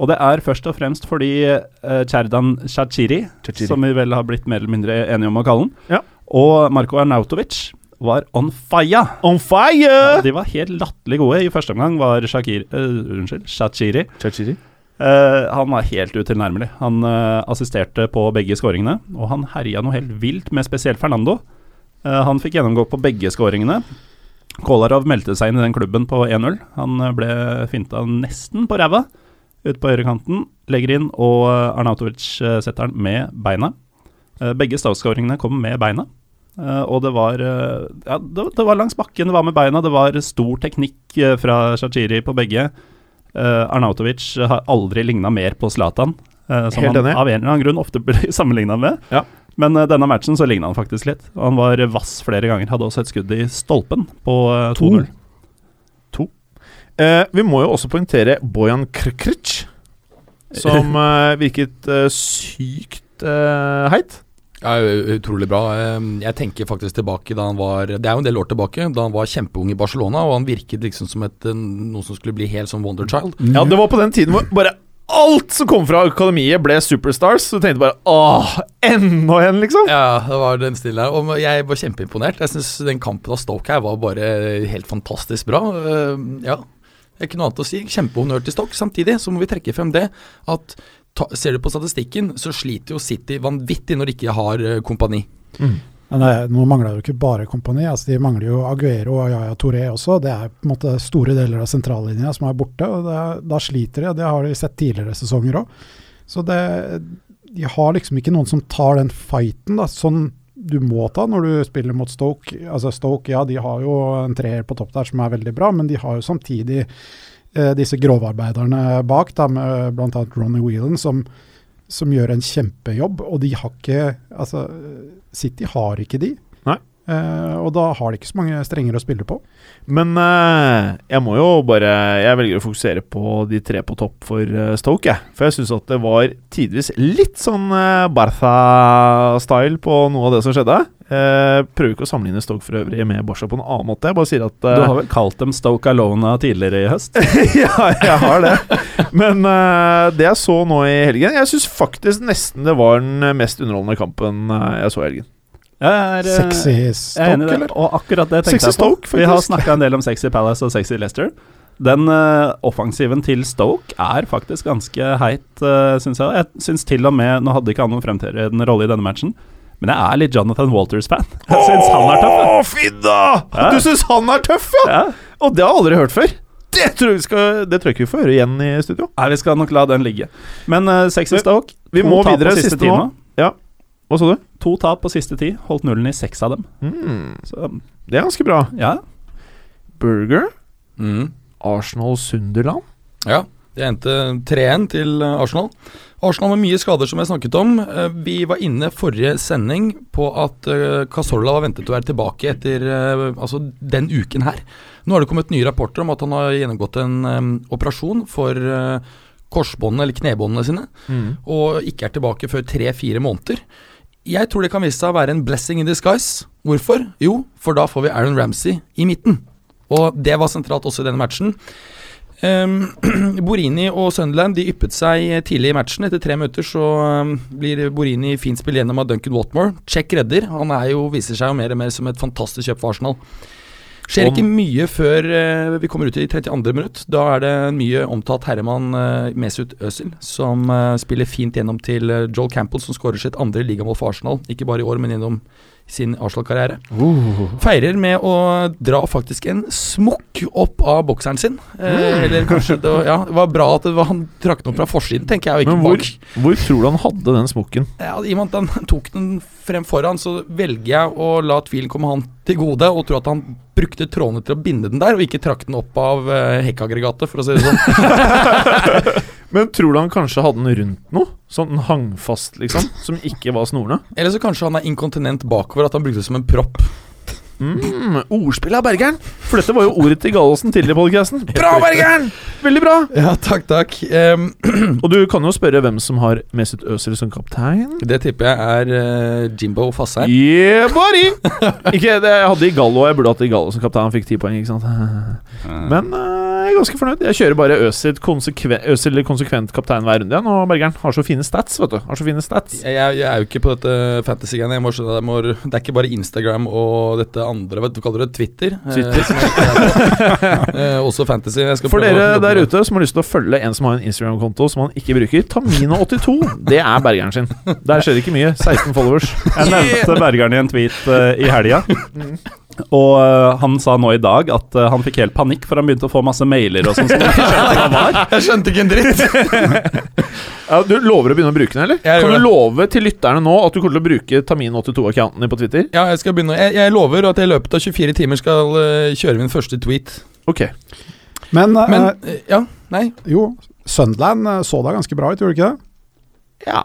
Speaker 2: Og det er først og fremst fordi eh, Cerdan Shachiri,
Speaker 1: Shaqiri.
Speaker 2: som vi vel har blitt mer eller mindre enige om å kalle han,
Speaker 1: Ja.
Speaker 2: og Marko Arnautovic var on fire!
Speaker 1: On fire!
Speaker 2: De var helt latterlig gode. I første omgang var Shakir, eh, unnskyld, Shachiri
Speaker 1: Chachiri.
Speaker 2: Eh, han var helt utilnærmelig. Han eh, assisterte på begge skåringene, og han herja noe helt vilt med spesielt Fernando. Eh, han fikk gjennomgå på begge skåringene. Kolarov meldte seg inn i den klubben på 1-0. Han eh, ble finta nesten på ræva ute på høyrekanten, legger inn, og eh, Arnautovic eh, setter den med beina. Eh, begge Stoke-skåringene kom med beina. Eh, og det var eh, ja, det, det var langs bakken, det var med beina, det var stor teknikk eh, fra Shachiri på begge. Eh, Arnautovic har aldri ligna mer på Zlatan, eh, som
Speaker 1: Helt
Speaker 2: han
Speaker 1: enig.
Speaker 2: av en eller annen grunn ofte blir sammenligna med.
Speaker 1: Ja.
Speaker 2: Men eh, denne matchen så ligna han faktisk litt. Og han var vass flere ganger. Hadde også et skudd i stolpen på eh, 2-0.
Speaker 1: Eh, vi må jo også poengtere Bojan Krkric, som eh, virket eh, sykt eh, heit.
Speaker 4: Ja, utrolig bra. Ehm, Jeg tenker faktisk tilbake da han var Det er jo en del år tilbake, da han var kjempeung i Barcelona, og han virket liksom som et, eh, noe som skulle bli helt som Wonderchild.
Speaker 1: Ja, det var på den tiden hvor bare alt som kom fra akademiet, ble superstars. Så du tenkte bare åh, enda en, liksom.
Speaker 4: Ja, det var den stilen her. Og jeg var kjempeimponert. Jeg syns den kampen av Stoke her var bare helt fantastisk bra. Ehm, Ja, det er ikke noe annet å si. Kjempehonnør til Stoke. Samtidig så må vi trekke frem det at ta, ser du på statistikken, så sliter jo City vanvittig når de ikke har eh, kompani.
Speaker 3: Men det, nå mangler det jo ikke bare kompani. Altså de mangler jo Aguero og Yaya Touré også. Det er på en måte store deler av sentrallinja som er borte. og det, Da sliter de. og Det har de sett tidligere sesonger òg. Så det, de har liksom ikke noen som tar den fighten da, sånn du må ta når du spiller mot Stoke. Altså Stoke, ja, de har jo en treer på topp der som er veldig bra, men de har jo samtidig eh, disse grovarbeiderne bak, da, med bl.a. Ronny Whelan, som, som gjør en kjempejobb. Og de har ikke Altså, City har ikke de.
Speaker 1: Nei.
Speaker 3: Eh, og da har de ikke så mange strenger å spille på.
Speaker 1: Men eh, jeg må jo bare Jeg velger å fokusere på de tre på topp for eh, Stoke, jeg. For jeg syns at det var tidvis litt sånn eh, Barca-style på noe av det som skjedde. Eh, prøver ikke å sammenligne Stoke for øvrig med Barca på en annen måte. Jeg bare sier at
Speaker 2: Du
Speaker 1: eh,
Speaker 2: har vel kalt dem Stoke Alona tidligere i høst?
Speaker 1: ja, jeg har det. Men eh, det jeg så nå i helgen Jeg syns faktisk nesten det var den mest underholdende kampen eh, jeg så i helgen.
Speaker 2: Jeg er, eh,
Speaker 3: Sexy
Speaker 2: jeg er enig i
Speaker 3: Stoke,
Speaker 2: det,
Speaker 3: eller?
Speaker 2: og akkurat det tenkte
Speaker 1: Sexy
Speaker 2: jeg på.
Speaker 1: Stoke,
Speaker 2: Vi har
Speaker 1: faktisk.
Speaker 2: snakka en del om sexy Palace og sexy Leicester. Den eh, offensiven til Stoke er faktisk ganske heit, uh, syns jeg. Jeg syns til og med Nå hadde ikke han noen fremtredende rolle i denne matchen, men jeg er litt Jonathan Walters-fan. Jeg syns han er tøff. jeg.
Speaker 1: Å, fy da!
Speaker 2: Ja.
Speaker 1: Du syns han er tøff, ja?
Speaker 2: Ja.
Speaker 1: Og det har jeg aldri hørt før. Det tror jeg, vi skal, det tror jeg ikke vi får høre igjen i studio.
Speaker 2: Nei, vi skal nok la den ligge. Men eh, sexy
Speaker 1: Men
Speaker 2: Stoke
Speaker 1: Vi
Speaker 2: to
Speaker 1: må
Speaker 2: tap på
Speaker 1: videre. Siste, nå. Hva sa du? Mm,
Speaker 2: To tap på siste ti. Holdt nullen i seks av dem. Så
Speaker 1: Det er ganske bra.
Speaker 2: ja,
Speaker 1: Burger,
Speaker 4: Mm.
Speaker 1: Arsenal, Sunderland.
Speaker 4: Ja, det endte 3-1 til eh, Arsenal. Arsenal med mye skader, som jeg snakket om. Eh, Vi var inne forrige sending på at eh, Cazorla var ventet å være tilbake etter eh, altså den uken her. Nå har det kommet nye rapporter om at han har gjennomgått en eh, operasjon for eh, korsbåndene, eller knebåndene sine, og ikke er tilbake før tre-fire måneder. Jeg tror det kan vise seg å være en blessing in disguise. Hvorfor? Jo, for da får vi Aaron Ramsey i midten. Og det var sentralt også i denne matchen. Um, Borini og Sunderland de yppet seg tidlig i matchen. Etter tre møter så um, blir Borini fint spill gjennom av Duncan Watmore. Check redder. Han er jo, viser seg jo mer og mer som et fantastisk kjøp for Arsenal. Skjer
Speaker 1: Om-
Speaker 4: ikke mye før eh, vi kommer ut i 32. minutt. Da er det en mye omtalt herremann eh, Mesut Özil som eh, spiller fint gjennom til eh, Joel Campbell, som skårer sitt andre ligamål for Arsenal. Ikke bare i år, men gjennom sin Arsenal-karriere.
Speaker 1: Uh.
Speaker 4: Feirer med å dra faktisk en smokk opp av bokseren sin. Eh, eller kanskje det, var- Ja, det var bra at det var, han trakk den opp fra forsiden, tenker jeg, og
Speaker 1: Men
Speaker 4: ikke
Speaker 1: hvor,
Speaker 4: bak.
Speaker 1: hvor tror du han hadde den smokken?
Speaker 4: Ja, I og med at han tok den frem foran, så velger jeg å la tvilen komme han til gode, og tro at han brukte trådene til å binde den der, og ikke trakk den opp av eh, hekkaggregatet, for å si det sånn.
Speaker 1: Men tror du han kanskje hadde den rundt noe? Sånn den hang fast, liksom? Som ikke var snorene?
Speaker 4: Eller så kanskje han er inkontinent bakover, at han brukte det som en propp.
Speaker 1: Mm, ordspill av Bergeren! For dette var jo ordet til Gallosen tidligere i podcasten. Bra, Bergeren! Veldig bra!
Speaker 4: Ja, takk, takk. Ehm,
Speaker 1: Og du kan jo spørre hvem som har Mesut Özil som kaptein.
Speaker 4: det tipper jeg er eh, Jimbo Fasheim.
Speaker 1: Yeah, buddy! Ikke, det, jeg hadde i Gallo, jeg burde hatt i Gallo som kaptein. Han fikk ti poeng, ikke
Speaker 4: Mm.
Speaker 1: sant?
Speaker 2: Men
Speaker 1: Men eh, jeg er ganske fornøyd. Jeg kjører bare Øsil konsekvent, Øsil konsekvent kaptein hver runde igjen. Og Bergeren har så fine stats, vet du. Har så fine stats.
Speaker 4: Jeg, jeg, jeg er jo ikke på dette fantasy-greiene. Jeg må skjønne at jeg må- Det er ikke bare Instagram og dette andre, vet du, kaller det Twitter? eh,
Speaker 1: Twitter.
Speaker 4: som jeg ikke er på. Eh, også fantasy. Jeg skal
Speaker 1: For
Speaker 4: prøve å
Speaker 1: dere
Speaker 4: jobbe
Speaker 1: der
Speaker 4: med
Speaker 1: ute som har lyst til å følge en som har en Instagram-konto som han ikke bruker, Tamino82. Det er Bergeren sin. Der skjer det ikke mye. 16 followers.
Speaker 2: jeg nevnte Bergeren i en tweet eh, i helga. Og eh, han sa nå i dag at eh, han fikk helt panikk, for han begynte å få masse mailer og sånn. som han ikke skjønte hva var.
Speaker 4: Jeg skjønte ikke en dritt!
Speaker 1: Ja, du lover å begynne å bruke den, eller?
Speaker 4: Jeg
Speaker 1: Kan
Speaker 4: gjør
Speaker 1: du
Speaker 4: det.
Speaker 1: love til lytterne nå at du kommer til å bruke Tamin82-accounten din på Twitter?
Speaker 4: Ja, jeg skal begynne. Jeg, jeg lover at jeg i løpet av 24 timer skal eh, kjøre min første tweet.
Speaker 1: Ok.
Speaker 3: Men, eh,
Speaker 4: Men eh, ja, nei.
Speaker 3: jo, Sunderland eh, så da ganske bra ut, gjorde det ikke det?
Speaker 1: Ja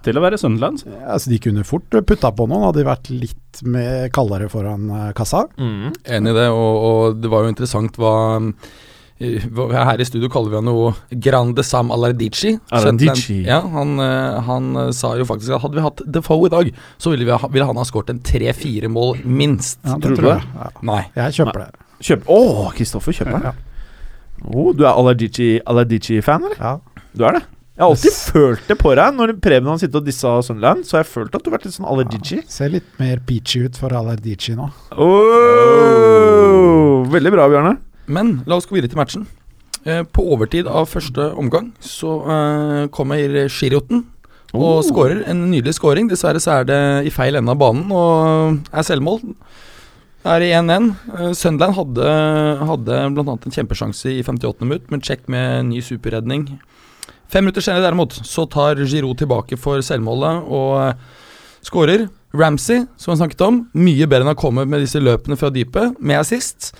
Speaker 2: Til å være Sunderland.
Speaker 3: Ja, Altså, de kunne fort putta på noen, hadde de vært litt mer kaldere foran eh, kassa.
Speaker 1: mm.
Speaker 4: Enig i det, og, og det var jo interessant hva eh, hva- her i studio kaller vi han jo Grande Sam Alardici.
Speaker 1: Alardici.
Speaker 4: Skjønte han- Ja, han, eh, han eh, sa jo faktisk at hadde vi hatt Defoe i dag, så ville, vi ha, ville han ha skåret en tre-fire mål, minst.
Speaker 3: Ja,
Speaker 1: Tror du det?
Speaker 3: jeg. Ja.
Speaker 4: Nei.
Speaker 3: Jeg kjøper det.
Speaker 1: Kjøp Å, Kristoffer kjøper den. Oh, du er Alardici-fan, eller?
Speaker 3: Ja.
Speaker 1: Du er det? Jeg har alltid følt det på deg. Når Preben har sittet og dissa Sunderland, så har jeg følt at du har vært litt sånn Alardici.
Speaker 3: Ser litt mer peachy ut for Alardici nå.
Speaker 1: Ah. Oh, veldig bra, Bjarne.
Speaker 4: Men la oss gå videre til matchen. Eh, På overtid av første omgang så eh, kommer Giroten og
Speaker 1: Oh.
Speaker 4: skårer. En nydelig skåring. Dessverre så er det i feil ende av banen og er selvmål. Er i 1-1. Eh, Sunderland hadde, hadde bl.a. en kjempesjanse i 58. minutt, men check med ny superredning. Fem minutter senere derimot så tar Giroud tilbake for selvmålet og eh, skårer. Ramsey, som jeg snakket om, mye bedre enn å komme med disse løpene fra dypet, med assist.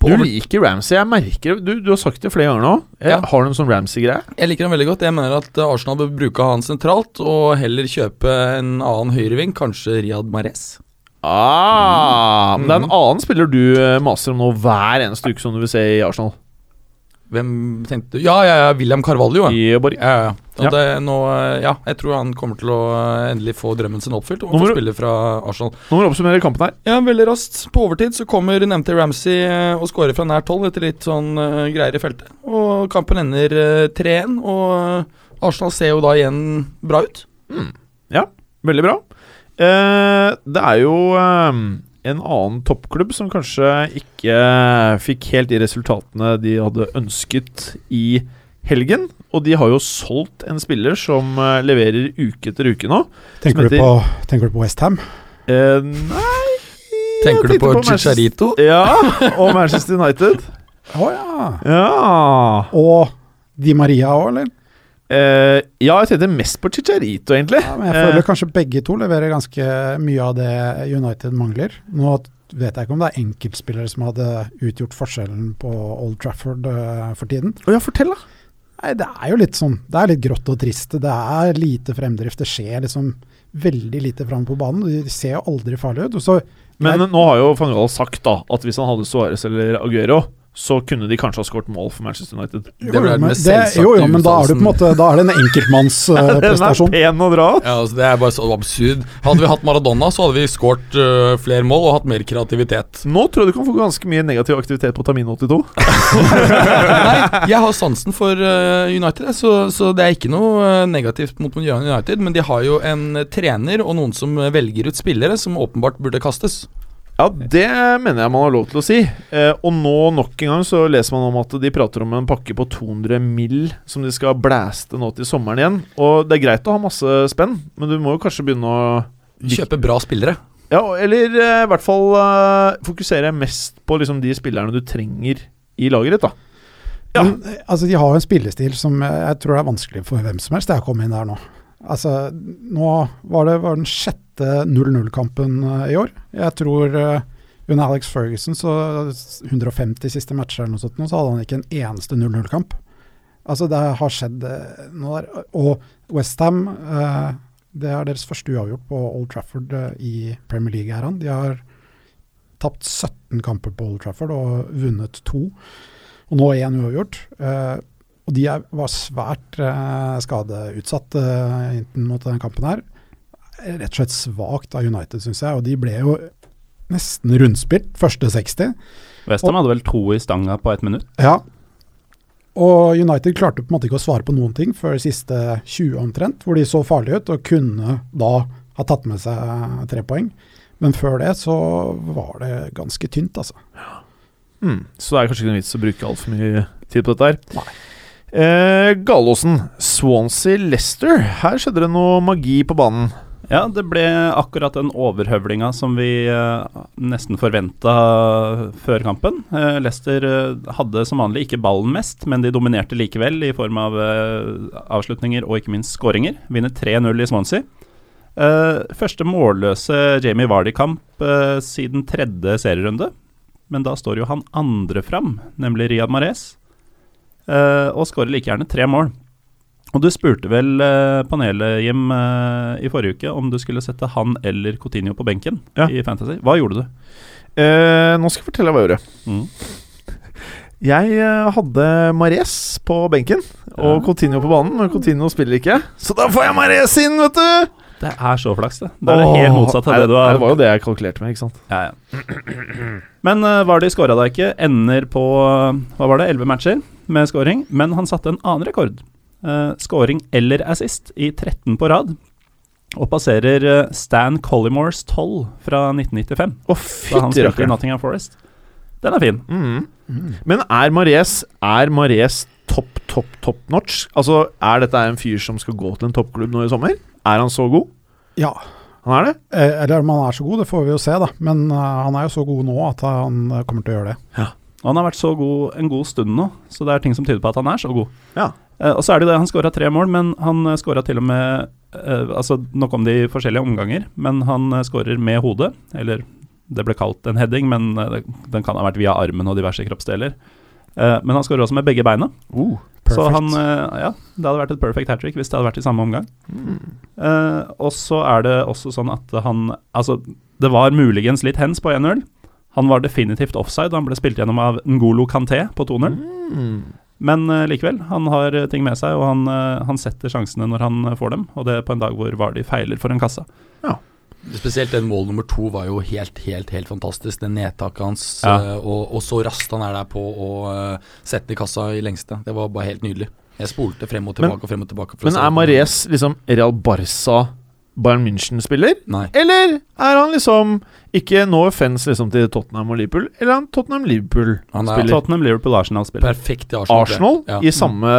Speaker 4: På
Speaker 1: Du
Speaker 4: over-
Speaker 1: liker Ramsey. Jeg merker Du, du har sagt det flere ganger nå. Jeg
Speaker 4: Ja.
Speaker 1: Har du en sånn Ramsey-greie?
Speaker 4: Jeg liker han veldig godt. Jeg mener at eh, Arsenal bør bruke han sentralt, og heller kjøpe en annen høyreving, kanskje Riyad Mahrez.
Speaker 1: Mm. Ah,
Speaker 4: Mm.
Speaker 1: Men det er en annen spiller du eh, maser om nå hver eneste uke, som du vil se i Arsenal.
Speaker 4: Hvem tenkte du? Ja, ja, ja, William Carvalho. Ja.
Speaker 1: I Borg.
Speaker 4: Ja, ja. Og
Speaker 1: Ja.
Speaker 4: Det, nå, eh, ja, jeg tror han kommer til å eh, endelig få drømmen sin oppfylt, og
Speaker 1: Nå må
Speaker 4: få
Speaker 1: du-
Speaker 4: spille fra Arsenal.
Speaker 1: Nå må du oppsummere kampen her.
Speaker 4: Ja, veldig raskt. På overtid så kommer nevnte Ramsey eh, og skårer fra nært hold etter litt sånn eh, greier i feltet. Og kampen ender eh, 3-1, og eh, Arsenal ser jo da igjen bra ut.
Speaker 1: Veldig bra. Eh, det er jo eh, en annen toppklubb som kanskje ikke fikk helt de resultatene de hadde ønsket i helgen. Og de har jo solgt en spiller som eh, leverer uke etter uke nå.
Speaker 3: Tenker,
Speaker 1: heter-
Speaker 3: du på, tenker du på Westham?
Speaker 1: Eh, nei jeg
Speaker 4: Tenker du
Speaker 1: tenkte
Speaker 4: på
Speaker 1: Manchester-
Speaker 4: Chicharito?
Speaker 1: Ja, og Manchester United.
Speaker 3: Å ja.
Speaker 1: Ja.
Speaker 3: Og Di Maria òg, eller?
Speaker 1: Eh, ja, jeg tenkte mest på Chicharito, egentlig.
Speaker 3: Ja, men jeg
Speaker 1: Eh.
Speaker 3: føler kanskje begge to leverer ganske mye av det United mangler. Nå vet jeg ikke om det er enkeltspillere som hadde utgjort forskjellen på Old Trafford eh, for tiden.
Speaker 1: Å ja, fortell, da.
Speaker 3: Nei, det er jo litt sånn. Det er litt grått og trist. Det er lite fremdrift. Det skjer liksom veldig lite framme på banen. De ser jo aldri farlige ut. Og så
Speaker 1: Men
Speaker 3: Nei.
Speaker 1: nå har jo van Gaal sagt da at hvis han hadde Suárez eller Aguero, så kunne de kanskje ha skåret mål for Manchester United.
Speaker 4: Det ble den
Speaker 3: men
Speaker 4: mest
Speaker 3: det-
Speaker 4: selvsagte
Speaker 3: jo, jo, men da er, du på
Speaker 4: uttalelsen.
Speaker 3: en måte, da er det en
Speaker 1: Den er
Speaker 3: enkeltmannsprestasjon.
Speaker 1: pen å dra.
Speaker 4: Ja, altså Det er bare så absurd. Hadde vi hatt Maradona, så hadde vi skåret flere mål og hatt mer kreativitet.
Speaker 1: Nå tror jeg du kan få ganske mye negativ aktivitet på Tamin 82.
Speaker 4: Nei, jeg har sansen for eh, United, jeg, så, så det er ikke noe eh, negativt mot United. Men de har jo en eh, trener og noen som eh, velger ut spillere som åpenbart burde kastes.
Speaker 1: Ja, det mener jeg man har lov til å si. Eh, og nå nok en gang så leser man om at de prater om en pakke på 200 mill. som de skal blæste nå til sommeren igjen. Og det er greit å ha masse spenn, men du må jo kanskje begynne å
Speaker 4: Kjøpe bra spillere.
Speaker 1: Ja, eller eh, i hvert fall eh, fokusere mest på liksom, de spillerne du trenger i laget ditt. da Ja.
Speaker 3: Men, eh, altså, de har jo en spillestil som eh, jeg tror er vanskelig for hvem som helst det er å komme inn der nå. Altså, nå var det var den sjette 0-0-kampen eh, i år. Jeg tror eh, under Alex Ferguson, så 150 siste matcher eller noe sånt, nå, så hadde han ikke en eneste 0-0-kamp. Altså, det har skjedd eh, noe der. Og Westham eh, Det er deres første uavgjort på Old Trafford eh, i Premier League-æraen. De har tapt 17 kamper på Old Trafford og vunnet to. Og nå én uavgjort. Eh, og de er, var svært eh, skadeutsatt eh, enten mot den kampen her. Eh, Rett og slett svakt av United, syns jeg. Og de ble jo nesten rundspilt første 60.
Speaker 2: Westham hadde vel to i stanga på ett minutt.
Speaker 3: Ja. Og United klarte på en måte ikke å svare på noen ting før siste 20 omtrent, hvor de så farlige ut og kunne da ha tatt med seg eh, tre poeng. Men før det så var det ganske tynt, altså.
Speaker 1: Mm. Så det er kanskje ikke noen vits å bruke altfor mye tid på dette her. Eh, Galåsen, Swansea-Lester. Her skjedde det noe magi på banen.
Speaker 2: Ja, det ble akkurat den overhøvlinga som vi eh, nesten forventa før kampen. Eh, Leicester eh, hadde som vanlig ikke ballen mest, men de dominerte likevel i form av eh, avslutninger og ikke minst skåringer. Vinner 3-0 i Swansea. Eh, første målløse Jamie Vardy-kamp eh, siden tredje serierunde. Men da står jo han andre fram, nemlig Riyad Mahrez, eh, og skårer like gjerne tre mål. Og du spurte vel eh, panelet, Jim, eh, i forrige uke om du skulle sette han eller Coutinho på benken
Speaker 1: Ja.
Speaker 2: i Fantasy. Hva gjorde du? Mm.
Speaker 1: Eh, nå skal jeg fortelle deg hva jeg gjorde. Jeg eh, hadde Mares på benken og
Speaker 2: Ja.
Speaker 1: Coutinho på banen, men Coutinho spiller ikke. Så da får jeg Mares inn, vet du!
Speaker 2: Det er så flaks, det. Det er det helt
Speaker 1: Åh,
Speaker 2: motsatt av
Speaker 1: nei,
Speaker 2: det du har
Speaker 1: Det var jo det jeg kalkulerte med, ikke sant.
Speaker 2: ja, ja. Men uh, Vardy skåra da ikke. Ender på eh, hva var det, elleve matcher med scoring. Men han satte en annen rekord. Uh, scoring eller assist i 13 på rad. Og passerer eh, Stan Collymores 12 fra 1995,
Speaker 1: Å,
Speaker 2: da han
Speaker 1: fytti
Speaker 2: spilte i
Speaker 1: rakkeren.
Speaker 2: Nottingham Forest. Den er fin.
Speaker 1: Mm. Men er Mares Er Mares topp, topp, topp notch? Altså, er dette en fyr som skal gå til en toppklubb nå i sommer? Er han så god?
Speaker 3: Ja.
Speaker 1: Han er det?
Speaker 3: Eh, Eller om han er så god, det får vi jo se, da. Men eh, han er jo så god nå at han eh, kommer til å gjøre det.
Speaker 2: Og han har vært så god en god stund nå, så det er ting som tyder på at han er så god.
Speaker 1: Ja.
Speaker 2: Eh, og så er det jo det, han skåra tre mål, men han eh, skåra til og med eh, Altså nok om de forskjellige omganger, men han eh, skårer med hodet. Eller det ble kalt en heading, men eh, det- den kan ha vært via armen og diverse kroppsdeler. Eh, men han skårer også med begge beina. Så
Speaker 3: Perfect.
Speaker 2: han eh, Ja, det hadde vært et perfect hat trick hvis det hadde vært i samme omgang.
Speaker 1: Mm.
Speaker 2: Eh, og så er det også sånn at han Altså, det var muligens litt hens på 1-0. Han var definitivt offside, han ble spilt gjennom av Ngolo Kanté på 2-0.
Speaker 1: Mm.
Speaker 2: Men eh, likevel, han har eh, ting med seg, og han, eh, han setter sjansene når han eh, får dem. Og det er på en dag hvor Vardy feiler for en kasse.
Speaker 4: Spesielt den mål nummer to var jo helt, helt helt fantastisk. Det nedtaket hans,
Speaker 2: Ja.
Speaker 4: eh, og, og så raskt han er der på å eh, sette den i kassa i lengste. Det var bare helt nydelig. Jeg spolte frem og
Speaker 1: Men-
Speaker 4: tilbake og frem og tilbake. for å
Speaker 1: Men
Speaker 4: se
Speaker 1: er
Speaker 4: den.
Speaker 1: Mares liksom Real Barca Bayern München-spiller?
Speaker 4: Nei.
Speaker 1: Eller er han liksom ikke no offense liksom til Tottenham og Liverpool? Eller er han Tottenham-Liverpool-spiller?
Speaker 4: Han er
Speaker 2: Tottenham Liverpool Arsenal-spiller.
Speaker 4: perfekt i Arsenal.
Speaker 1: Arsenal
Speaker 4: Ja.
Speaker 1: i samme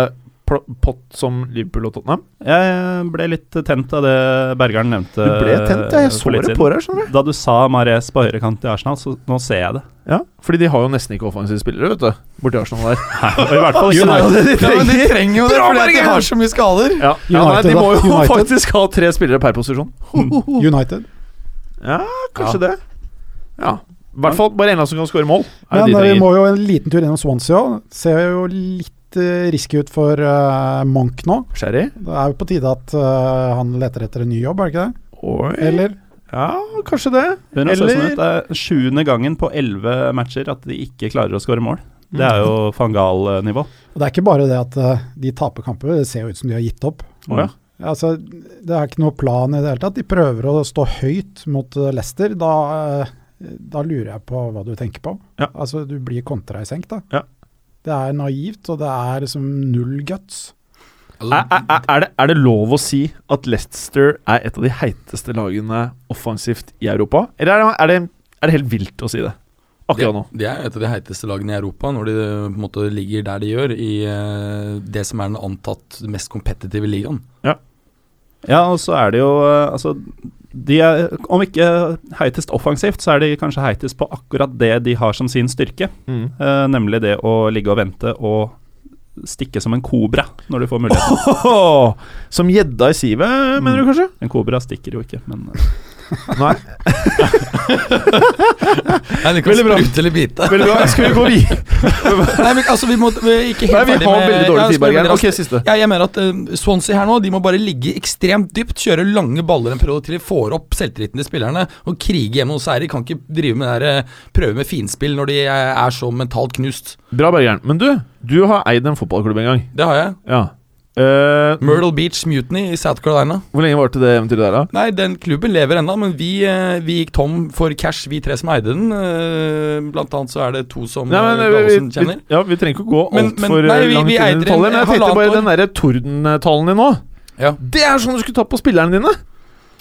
Speaker 1: pl- pott som Liverpool og Tottenham?
Speaker 2: Jeg eh, ble litt eh, tent av det Bergeren nevnte.
Speaker 1: Du ble tent, ja. Jeg så det på deg. skjønner du
Speaker 2: Da du sa Mares på høyrekant i Arsenal, så nå ser jeg det.
Speaker 1: Ja, Fordi de har jo nesten ikke offensive spillere, vet du. Borti Arsenal der.
Speaker 2: Og i hvert fall
Speaker 1: Jo,
Speaker 2: ikke
Speaker 1: nei,
Speaker 2: United.
Speaker 1: det de
Speaker 4: Ja, men de
Speaker 1: trenger.
Speaker 4: trenger jo det,
Speaker 1: Bra,
Speaker 4: fordi at de
Speaker 1: Bergen!
Speaker 4: har så mye skader.
Speaker 1: Ja, ja nei,
Speaker 3: United,
Speaker 1: De må
Speaker 3: da.
Speaker 1: jo
Speaker 3: United.
Speaker 1: faktisk ha tre spillere per posisjon.
Speaker 3: United.
Speaker 1: Ja, kanskje det. Ja. I hvert fall bare en av dem som kan skåre mål. Er det
Speaker 3: Men
Speaker 1: de
Speaker 3: eh, vi
Speaker 1: trenger.
Speaker 3: må jo en liten tur innom Swansea òg. Ser jo litt eh, risky ut for eh, Monk nå.
Speaker 1: Sherry?
Speaker 3: Det er jo på tide at eh, han leter etter en ny jobb, er det ikke det?
Speaker 1: Oi.
Speaker 2: Eh,
Speaker 3: Eller?
Speaker 1: Ja, kanskje det.
Speaker 2: Begynner å se sånn
Speaker 1: Eller-
Speaker 2: ut. Det er sjuende gangen på elleve matcher at de ikke klarer å skåre mål. Det er jo Fangal-nivå.
Speaker 3: Og det er ikke bare det at eh, de taper kamper, det ser jo ut som de har gitt opp.
Speaker 1: Å ja.
Speaker 3: Altså, det er ikke noe plan i det hele tatt. De prøver å stå høyt mot eh, Leicester. Da, eh, da lurer jeg på hva du tenker på.
Speaker 1: Ja.
Speaker 3: Altså, du blir kontra i senk, da.
Speaker 1: Ja.
Speaker 3: Det er naivt, og det er liksom null guts.
Speaker 4: Mm. Altså,
Speaker 1: Er, er, er- er, det, er det lov å si at Leicester er et av de heiteste lagene offensivt i Europa? Eller er det, er det, er det helt vilt å si det akkurat nå?
Speaker 4: De er et av de heiteste lagene i Europa når de eh, på en måte ligger der de gjør, i eh, det som er den antatt mest kompetitive ligaen.
Speaker 2: Ja, og så er det jo eh, Altså, De er, om ikke heitest offensivt, så er de kanskje heitest på akkurat det de har som sin styrke.
Speaker 1: Mm.
Speaker 2: Eh, nemlig det å ligge og vente og stikke som en kobra når du får muligheten.
Speaker 1: Åhåhå! som gjedda i
Speaker 4: Mm.
Speaker 1: sivet, mener du kanskje?
Speaker 2: En kobra stikker jo ikke, men eh,
Speaker 1: Nei.
Speaker 4: Jeg liker å
Speaker 1: Veldig bra.
Speaker 4: sprute eller bite.
Speaker 1: Veldig bra. Skal vi gå videre?
Speaker 4: Nei, men altså, vi må vi er ikke helt
Speaker 1: Nei, vi
Speaker 4: ferdig
Speaker 1: har
Speaker 4: med-
Speaker 1: veldig
Speaker 4: Ja,
Speaker 1: dårlig
Speaker 4: skal
Speaker 1: tid,
Speaker 4: vi
Speaker 1: Bergen.
Speaker 4: videre?
Speaker 1: Ok, siste.
Speaker 4: Ja, jeg mener at eh, Swansea her nå De må bare ligge ekstremt dypt, kjøre lange baller en periode til de får opp selvtilliten til spillerne, og krige hjemme hos seg. De kan ikke drive med det der, eh, prøve med finspill når de eh, er så mentalt knust.
Speaker 1: Bra, Bergeren. Men du, du har eid en fotballklubb en gang.
Speaker 4: Det har jeg.
Speaker 1: Ja. Eh,
Speaker 4: Myrtle Beach Mutiny i South Carolina.
Speaker 1: hvor lenge varte det eventyret der, da?
Speaker 4: Nei, den klubben lever ennå, men vi, eh, vi gikk tom for cash, vi tre som eide den. Eh, Blant annet så er det to som
Speaker 1: Nei, men,
Speaker 4: eh,
Speaker 1: vi,
Speaker 4: Gallosen
Speaker 1: vi,
Speaker 4: kjenner.
Speaker 1: ja, vi trenger ikke å gå
Speaker 4: Men- men-
Speaker 1: altfor
Speaker 4: nei, vi-
Speaker 1: langt
Speaker 4: vi
Speaker 1: inn i
Speaker 4: eide
Speaker 1: detaljer,
Speaker 4: en-
Speaker 1: men jeg tenkte
Speaker 4: halvannet
Speaker 1: bare
Speaker 4: år.
Speaker 1: den derre tordentalen din nå.
Speaker 4: Ja.
Speaker 1: Det er sånn du skulle tatt på spillerne dine!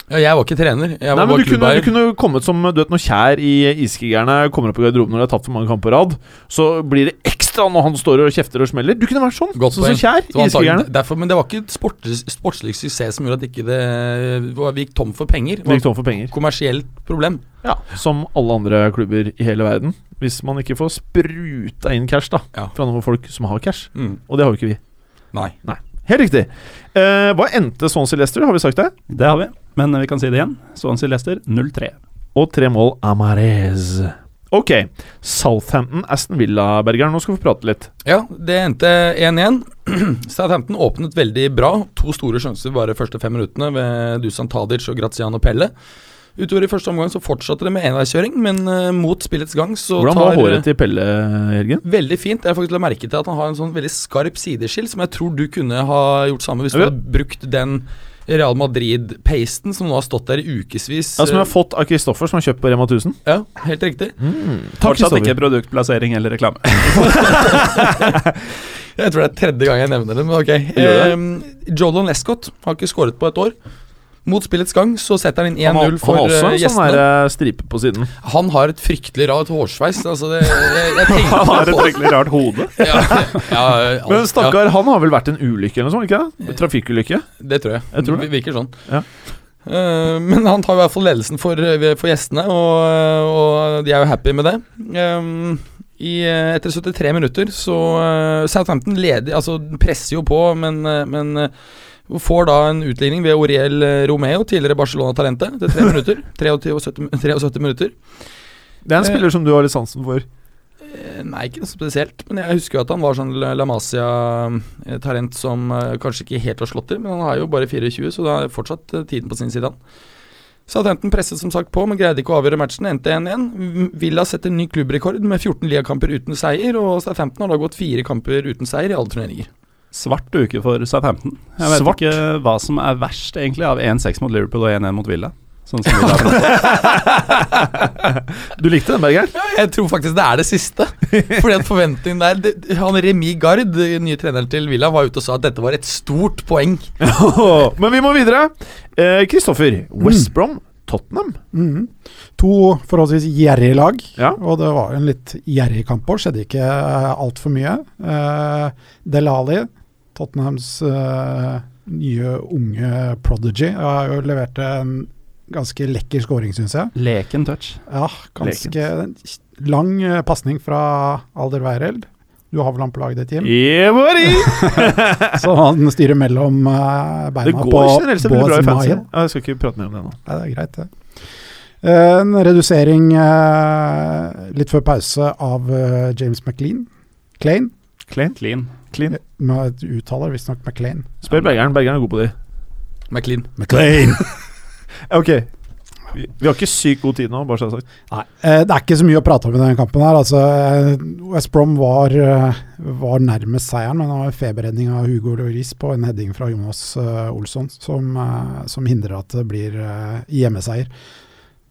Speaker 4: ja, jeg var ikke trener. Jeg var
Speaker 1: Nei, men
Speaker 4: bare
Speaker 1: du kunne,
Speaker 4: klubbeier.
Speaker 1: du kunne jo kommet som du vet, når Kjær i Iskrigerne kommer opp i garderoben når de har tapt for mange kamper på rad. Så blir det ekstra når han står og kjefter og smeller. Du kunne vært sånn!
Speaker 4: Godt
Speaker 1: sånn
Speaker 4: poeng.
Speaker 1: som Kjær
Speaker 4: Det var
Speaker 1: i Iskrigerne.
Speaker 4: antagelig derfor, men det var ikke et sports, sportslig suksess som gjorde at ikke det var, vi gikk tom for penger. Det
Speaker 1: Gikk
Speaker 4: var
Speaker 1: tom for penger.
Speaker 4: et kommersielt problem.
Speaker 1: Ja, Som alle andre klubber i hele verden. Hvis man ikke får spruta inn cash da
Speaker 4: Ja.
Speaker 1: fra noen folk som har cash. Og det har jo ikke vi.
Speaker 4: Mm. Nei.
Speaker 1: Helt riktig. Eh, hva endte Swansea Leicester, har vi sagt det?
Speaker 2: det har vi. Men eh, vi kan si det igjen. Swansea Leicester 0-3.
Speaker 1: Og tre mål Amarez. Ok. Southampton, Aston Villa, Berger. Nå skal vi få prate litt.
Speaker 4: Ja, det endte 1-1. Southampton åpnet veldig bra. To store sjanser bare de første fem minuttene ved Dusan Tadic og Graziano Pelle. Utover i første omgang så fortsatte det med enveiskjøring, men eh, mot spillets gang så
Speaker 1: Hvordan var
Speaker 4: tar eh,
Speaker 1: håret til Pelle, Jørgen?
Speaker 4: Veldig fint. Jeg har faktisk la merke til at han har en sånn veldig skarp sideskill, som jeg tror du kunne ha gjort samme hvis du
Speaker 1: Ja.
Speaker 4: hadde brukt den Real Madrid-pasten som nå har stått der i ukevis. eh,
Speaker 1: Ja, som jeg har fått av Kristoffer, som har kjøpt på Rema 1000.
Speaker 4: Ja, helt riktig. Mm.
Speaker 1: Takk,
Speaker 2: Fortsatt ikke
Speaker 1: Kristoffer.
Speaker 2: produktplassering eller reklame.
Speaker 4: Jeg tror det er tredje gang jeg nevner det, men ok.
Speaker 1: det?
Speaker 4: Ehm, Jolon Lescott har ikke skåret på et år. Mot spillets gang så setter han inn
Speaker 1: Han har,
Speaker 4: 1-0 for
Speaker 1: han har
Speaker 4: eh,
Speaker 1: også en sånn
Speaker 4: gjestene.
Speaker 1: der, eh, stripe på siden.
Speaker 4: Han har et fryktelig rart hårsveis. Altså det, jeg, jeg tenkte
Speaker 2: Han har et
Speaker 4: på
Speaker 2: fryktelig rart hode.
Speaker 4: ja, ja, alt-
Speaker 1: Men stakkar, han har vel vært en ulykke eller noe sånt? ikke det? Trafikkulykke?
Speaker 4: ja, det tror jeg.
Speaker 1: Jeg tror det.
Speaker 4: Vi- Virker sånn.
Speaker 1: Ja.
Speaker 4: Eh, men han tar i hvert fall ledelsen for, eh, for gjestene, og, eh, og de er jo happy med det. Ehm, i, eh, etter 73 minutter så eh, Southampton leder, altså presser jo på, men, eh, men eh, får da en utligning ved Oriel eh, Romeo, tidligere Barcelona-talentet, etter 3 minutter. 23 og 70 73 minutter.
Speaker 1: Det er
Speaker 4: Eh.
Speaker 1: en spiller som du har litt sansen for.
Speaker 4: Eh, Nei, ikke noe spesielt. Men jeg husker jo at han var sånn La La Masia-talent som eh, kanskje ikke helt har slått til, men han har jo bare 24, så da er fortsatt eh, tiden på sin side, han. Southampton presset som sagt på, men greide ikke å avgjøre matchen. Endte 1-1. M- Villa setter ny klubbrekord med 14 ligakamper uten seier, og Southampton har da gått fire kamper uten seier i alle turneringer.
Speaker 2: Svart uke for Southampton. Jeg vet
Speaker 1: Svart?
Speaker 2: ikke hva som er verst, egentlig, av 1-6 mot Liverpool og 1-1 mot Villa. Sånn som Villa har
Speaker 1: Du likte den, Berger?
Speaker 4: Jeg tror faktisk det er det siste. Fordi at forventningen der det, Han Remi Gard, den nye treneren til Villa, var ute og sa at dette var et stort poeng.
Speaker 1: Men vi må videre. Eh, Kristoffer, West Brom, Tottenham.
Speaker 3: Mhm. To forholdsvis gjerrige lag,
Speaker 1: Ja.
Speaker 3: og det var jo en litt gjerrig kamp òg. Skjedde ikke altfor mye. Eh, Delali, Tottenhams eh, nye unge prodigy, har jo levert en ganske lekker scoring, syns jeg.
Speaker 2: Leken touch.
Speaker 3: Ja, ganske lang eh, pasning fra Alder Weireld. Du har vel han på laget ditt, Jim?
Speaker 1: Evori!
Speaker 3: Så han styrer mellom eh,
Speaker 1: Det
Speaker 3: beina
Speaker 1: går
Speaker 3: på
Speaker 1: generelt sett veldig bra i fancy.
Speaker 3: Mayen.
Speaker 1: Ja, jeg skal ikke prate mer om det nå.
Speaker 3: Nei, det er greit, det. En redusering eh, litt før pause av eh, James McLean. Klein.
Speaker 1: Klein.
Speaker 2: Clean.
Speaker 1: Clean.
Speaker 3: Med et uttaler visstnok McLean.
Speaker 1: Spør Bergeren. Bergeren er god på de.
Speaker 4: McLean.
Speaker 3: McLean!
Speaker 1: Ok. Vi, vi har ikke sykt god tid nå, bare så det er sagt.
Speaker 3: Nei, eh, det er ikke så mye å prate om i denne kampen. her. Altså, eh, West Brom var, eh, var nærmest seieren, men det var en feberredning av Hugo Lloris på en heading fra Jonas eh, Olsson som, eh, som hindrer at det blir eh, hjemmeseier.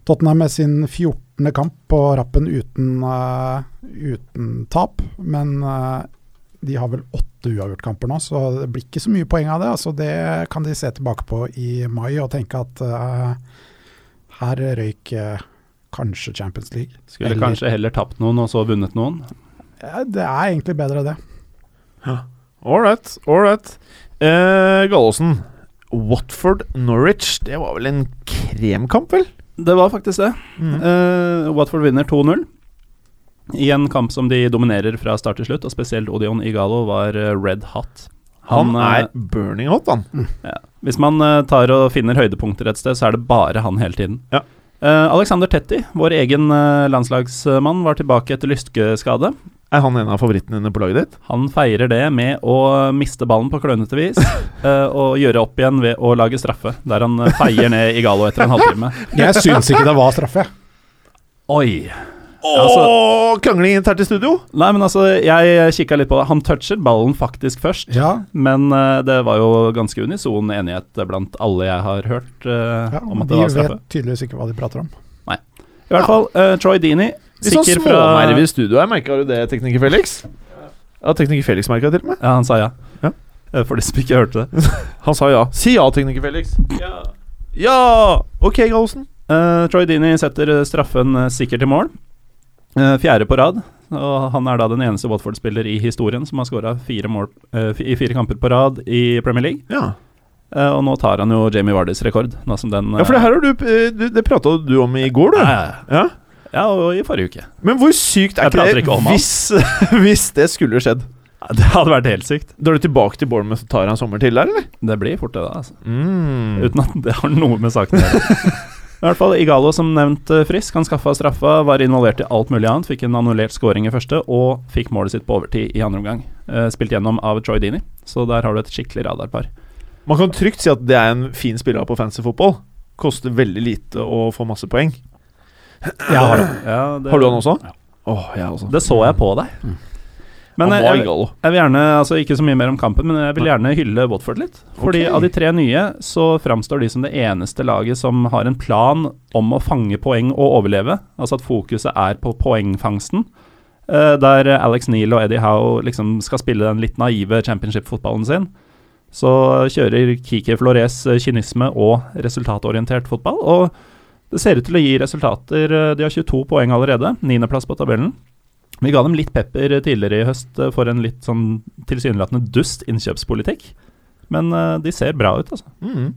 Speaker 3: Tottenham med sin 14. kamp på rappen uten, eh, uten tap, men eh, de har vel åtte uavgjortkamper nå, så det blir ikke så mye poeng av det. Altså, det kan de se tilbake på i mai og tenke at eh, her røyk eh, kanskje Champions League.
Speaker 2: Skulle
Speaker 3: Eller-
Speaker 2: kanskje heller tapt noen og så vunnet noen.
Speaker 3: Ja, Det er egentlig bedre, det.
Speaker 1: All right, all right. Eh, Gallosen, Watford-Norwich. Det var vel en kremkamp, vel?
Speaker 2: Det var faktisk det. Eh, Watford vinner 2-0. I en kamp som de dominerer fra start til slutt, og spesielt Odion Igalo var eh, red hot.
Speaker 1: Han,
Speaker 2: eh,
Speaker 1: er burning hot, han.
Speaker 2: Hvis man eh, tar og finner høydepunkter et sted, så er det bare han hele tiden.
Speaker 1: Ja.
Speaker 2: Eh, Alexander Tetti, vår egen eh, landslagsmann, var tilbake etter lyskeskade.
Speaker 1: Er han en av favorittene dine på laget ditt?
Speaker 2: Han feirer det med å miste ballen på klønete vis, eh, og gjøre opp igjen ved å lage straffe, der han eh, feier ned Igalo etter en halvtime.
Speaker 3: Jeg syns ikke det var straffe. jeg.
Speaker 2: Oi!
Speaker 1: Åh, krangling internt i studio!
Speaker 2: Nei, men altså, jeg kikka litt på det. Han toucher ballen faktisk først,
Speaker 3: Ja,
Speaker 2: men eh, det var jo ganske unison enighet blant alle jeg har hørt eh,
Speaker 3: ja,
Speaker 2: om at
Speaker 3: De
Speaker 2: det var
Speaker 3: vet
Speaker 2: straffe.
Speaker 3: tydeligvis ikke hva de prater om.
Speaker 2: I hvert fall, eh, Troy Dini
Speaker 1: Litt sånn
Speaker 2: sikker fra
Speaker 1: smånerver i studio her, merka du det, tekniker Felix? Ja, tekniker Felix merka til og med.
Speaker 2: Ja, han sa ja.
Speaker 1: Ja.
Speaker 2: Eh, For de som ikke hørte det.
Speaker 1: Han sa ja. Si ja, tekniker Felix. Ja! Ok, Gallosen.
Speaker 2: Eh, Troy Dini setter eh, straffen eh, sikkert i mål. Eh, fjerde på rad. Og han er da den eneste Watford-spiller i historien som har skåra fire mål eh, fi- i fire kamper på rad i Premier League.
Speaker 1: Ja.
Speaker 2: Eh, og nå tar han jo Jamie Vardys rekord, nå som den
Speaker 1: ja, for det her har du, eh, du Det prata du om i går, du.
Speaker 2: Ja,
Speaker 1: Ja.
Speaker 2: ja. ja, og i forrige uke.
Speaker 1: Men hvor sykt er
Speaker 2: Jeg
Speaker 1: ikke
Speaker 2: prater
Speaker 1: det
Speaker 2: ikke om han.
Speaker 1: hvis, hvis det skulle skjedd?
Speaker 2: Ja, Det hadde vært helt sykt.
Speaker 1: Drar du tilbake til Bournemouth og tar en sommer til der, eller?
Speaker 2: Det blir fort det, da. Altså.
Speaker 1: Mm.
Speaker 2: Uten at det har noe med saken å gjøre. I hvert fall Igalo, som nevnt eh, frisk, han skaffa straffa, var involvert i alt mulig annet. Fikk en annullert scoring i første, og fikk målet sitt på overtid i andre omgang. Eh, spilt gjennom av Troy Dini, så der har du et skikkelig radarpar.
Speaker 1: Man kan trygt si at det er en fin spiller på fancy fotball. Koster veldig lite å få masse poeng.
Speaker 2: Ja, har, du. Ja, det,
Speaker 1: Har du han også?
Speaker 2: Ja.
Speaker 1: Åh, jeg også.
Speaker 2: Det så jeg på deg. Men eh,
Speaker 1: han
Speaker 2: jeg,
Speaker 1: var
Speaker 2: jeg,
Speaker 1: gal.
Speaker 2: jeg vil gjerne, altså ikke så mye mer om kampen, men jeg vil gjerne hylle Watford litt. Fordi
Speaker 1: Ok.
Speaker 2: av de tre nye så framstår de som det eneste laget som har en plan om å fange poeng og overleve. Altså at fokuset er på poengfangsten. Eh, der Alex Neal og Eddie Howe liksom skal spille den litt naive championship-fotballen sin. Så kjører Kiki Flores eh, kynisme og resultatorientert fotball. Og det ser ut til å gi resultater. Eh, De har 22 poeng allerede. Niendeplass på tabellen. Vi ga dem litt pepper tidligere i høst eh, for en litt sånn tilsynelatende dust innkjøpspolitikk. Men eh, de ser bra ut, altså.
Speaker 1: Mm.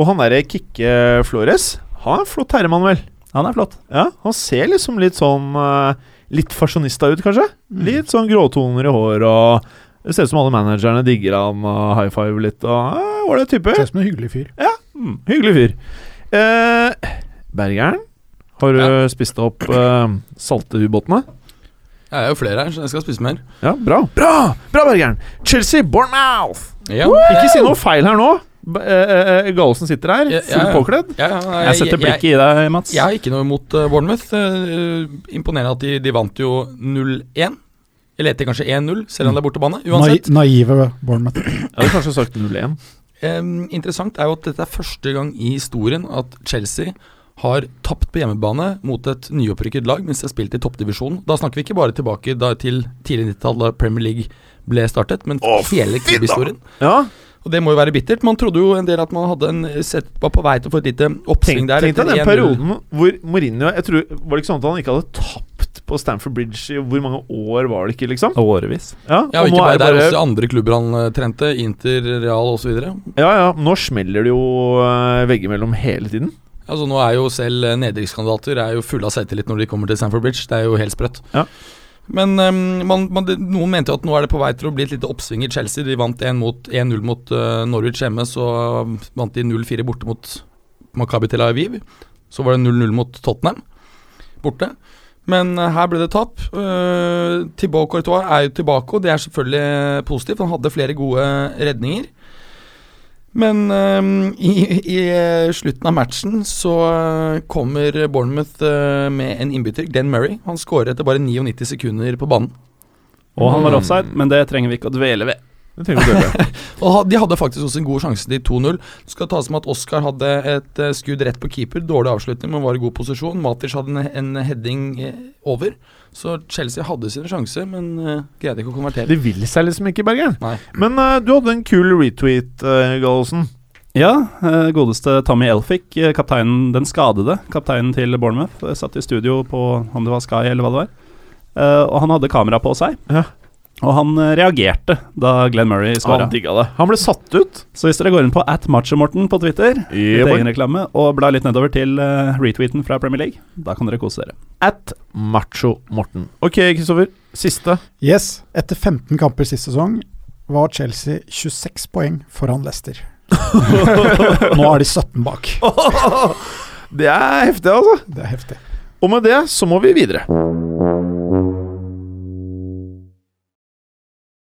Speaker 1: Og han derre Kikke Flores, han er en flott herremann, vel?
Speaker 2: Han er flott.
Speaker 1: Ja, han ser liksom litt sånn eh, Litt fasjonista ut, kanskje? Litt sånn gråtoner i hår og Det ser ut som alle managerne digger han og high five litt og eh, Var det en type?
Speaker 3: Ser ut som en hyggelig fyr.
Speaker 1: Mm, hyggelig fyr. Eh, Bergeren, har du spist opp eh, salte ubåtene?
Speaker 4: Jeg er jo flere her, så jeg skal spise mer.
Speaker 1: Ja, bra. Bra, bra Bergeren! Chelsea, Bournemouth!
Speaker 4: Ja.
Speaker 1: Ikke si noe feil her nå. B- eh, eh, Gallosen sitter her,
Speaker 4: Ja,
Speaker 1: fullt
Speaker 4: ja.
Speaker 1: påkledd.
Speaker 4: Ja, ja,
Speaker 2: Jeg setter blikket i deg, Mats.
Speaker 4: Jeg har ikke noe imot eh, Bournemouth. Eh, imponerende at de, de vant jo 0-1. Eller etter kanskje 1-0, selv om det er
Speaker 1: Mm.
Speaker 4: bortebane. Uansett.
Speaker 3: Nai- naive Bournemouth.
Speaker 1: Jeg hadde kanskje sagt 0-1.
Speaker 4: Em, interessant er jo at dette er første gang i historien at Chelsea har tapt på hjemmebane mot et nyopprykket lag mens de har spilt i toppdivisjonen. Da snakker vi ikke bare tilbake da til tidlig 90-tall, da Premier League ble startet, men hele klubbhistorien.
Speaker 1: Ja,
Speaker 4: Og det må jo være bittert. Man trodde jo en del at man hadde en sett, var på vei til å få et lite oppsving
Speaker 1: Tenk,
Speaker 4: der.
Speaker 1: tenk
Speaker 4: etter
Speaker 1: deg
Speaker 4: 1-0.
Speaker 1: den perioden hvor Mourinho jeg tror, Var det ikke sånn at han ikke hadde tapt på Stamford Bridge i hvor mange år var det ikke, liksom?
Speaker 2: Årevis.
Speaker 1: Ja,
Speaker 4: Ja,
Speaker 1: og
Speaker 4: og
Speaker 1: nå
Speaker 4: ikke bare
Speaker 1: er det
Speaker 4: der, også andre klubber han eh, trente. Inter, Real osv.
Speaker 1: Ja, ja, nå smeller det jo uh, veggimellom hele tiden.
Speaker 4: Altså, nå er jo selv eh, nedrykkskandidater er jo fulle av selvtillit når de kommer til Stamford Bridge. Det er jo helt sprøtt.
Speaker 1: Ja.
Speaker 4: Men ehm, man, man, det, noen mente jo at nå er det på vei til å bli et lite oppsving i Chelsea. De vant 1 mot- 1-0 mot eh, Norwich hjemme, så vant de 0-4 borte mot Maccabi Tel Aviv. Så var det 0-0 mot Tottenham borte. Men eh, her ble det tap. Uh, Thibaut Courtois er jo tilbake, og det er selvfølgelig eh, positivt. Han hadde flere gode eh, redninger. Men ehm, i, i eh, slutten av matchen så eh, kommer Bournemouth eh, med en innbytter, Glenn Murray. Han skårer etter bare 99 sekunder på banen.
Speaker 2: Og han var
Speaker 1: Mm.
Speaker 2: offside, men det trenger vi ikke å dvele ved.
Speaker 1: Det tenker jeg på det.
Speaker 4: Og ha- de hadde faktisk også en god sjanse til 2-0. Det skal tas med at Oscar hadde et eh, skudd rett på keeper. Dårlig avslutning, men var i god posisjon. Matic hadde en, en heading eh, over. Så Chelsea hadde sine sjanser, men eh, greide ikke å konvertere.
Speaker 1: Det vil seg liksom ikke, Bergeren.
Speaker 4: Nei.
Speaker 1: Men eh, du hadde en kul retweet, uh, Gallosen.
Speaker 2: Ja, eh, godeste Tommy Elfick, eh, kapteinen, den skadede kapteinen til Bournemouth, eh, satt i studio på om det var Sky eller hva det var. Eh, og han hadde kamera på seg.
Speaker 1: Ja.
Speaker 2: Og han eh, reagerte da Glenn Murray skåra.
Speaker 1: Han digga det. Han ble satt ut.
Speaker 2: Så hvis dere går inn på at Morten på Twitter, litt
Speaker 1: boy.
Speaker 2: egen reklame, og blar litt nedover til eh, retweeten fra Premier League, da kan dere kose dere.
Speaker 1: At Macho Morten. Ok, Kristoffer. Siste.
Speaker 3: Yes, etter 15 kamper sist sesong var Chelsea 26 poeng foran Leicester. Nå er de 17 bak.
Speaker 1: Det er heftig, altså.
Speaker 3: Det er heftig.
Speaker 1: Og med det så må vi videre.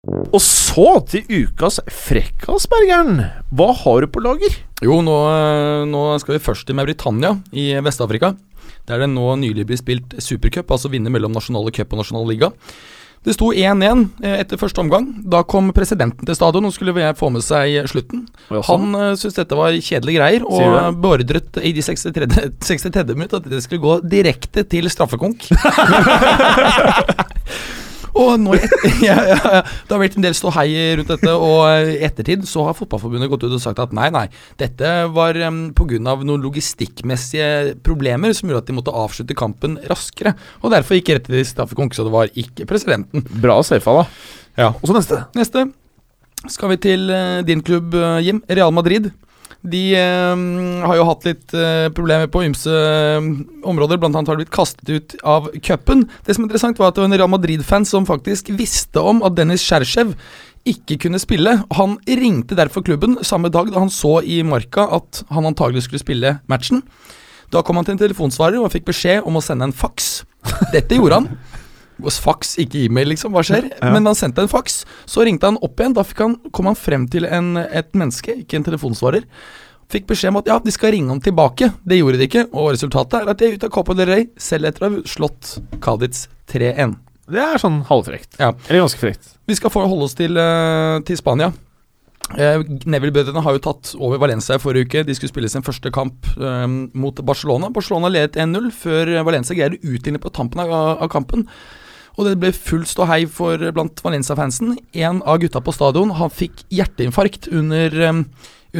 Speaker 1: Og så til ukas frekkas, Bergeren. Hva har du på lager?
Speaker 4: Jo, nå, eh, nå skal vi først til Mauritania i Vest-Afrika. Der det nå nylig blir spilt supercup, altså vinne mellom nasjonale cup og nasjonal liga. Det sto 1-1 eh, etter første omgang. Da kom presidenten til stadion og skulle eh, få med seg slutten. Han uh, syntes dette var kjedelige greier, og
Speaker 1: sånn. Sier
Speaker 4: eh, beordret i de 63. 63. minutt at det skulle gå direkte til straffekonk. og nå, i et- ja, ja, ja. Det har vært en del ståhei rundt dette, og eh, i ettertid så har Fotballforbundet gått ut og sagt at nei, nei, dette var pga. noen logistikkmessige problemer som gjorde at de måtte avslutte kampen raskere, og derfor gikk rett til straffekonk, så det var ikke presidenten.
Speaker 1: Bra safa, da.
Speaker 4: Ja.
Speaker 1: Og så neste.
Speaker 4: Neste skal vi til eh, din klubb, eh, Jim. Real Madrid. De eh, har jo hatt litt eh, problemer på ymse eh, områder, blant annet har de blitt kastet ut av cupen. Det som er interessant, var at det var en Real Madrid-fan som faktisk visste om at Dennis Skjerchev ikke kunne spille. Han ringte derfor klubben samme dag da han så i Marka at han antagelig skulle spille matchen. Da kom han til en telefonsvarer og fikk beskjed om å sende en faks. Dette gjorde han. Hos Faks, ikke e-mail, liksom. Hva skjer? Men han sendte en faks. Så ringte han opp igjen. Da fikk han, kom han frem til en, et menneske, ikke en telefonsvarer. Fikk beskjed om at ja, de skal ringe ham tilbake. Det gjorde de ikke. Og resultatet er at de er ute av Copa del Rey, selv etter å ha slått Cadiz 3-1.
Speaker 1: Det er sånn halvfrekt.
Speaker 4: Ja.
Speaker 1: Eller ganske frekt.
Speaker 4: Vi skal forholde oss til, eh, til Spania. Eh, Neville-brødrene har jo tatt over Valencia i forrige uke. De skulle spille sin første kamp eh, mot Barcelona. Barcelona ledet 1-0 før eh, Valencia greide å utligne på tampen av, av kampen. Og det ble full ståhei for eh, blant Valencia-fansen. En av gutta på stadion han fikk hjerteinfarkt under, eh,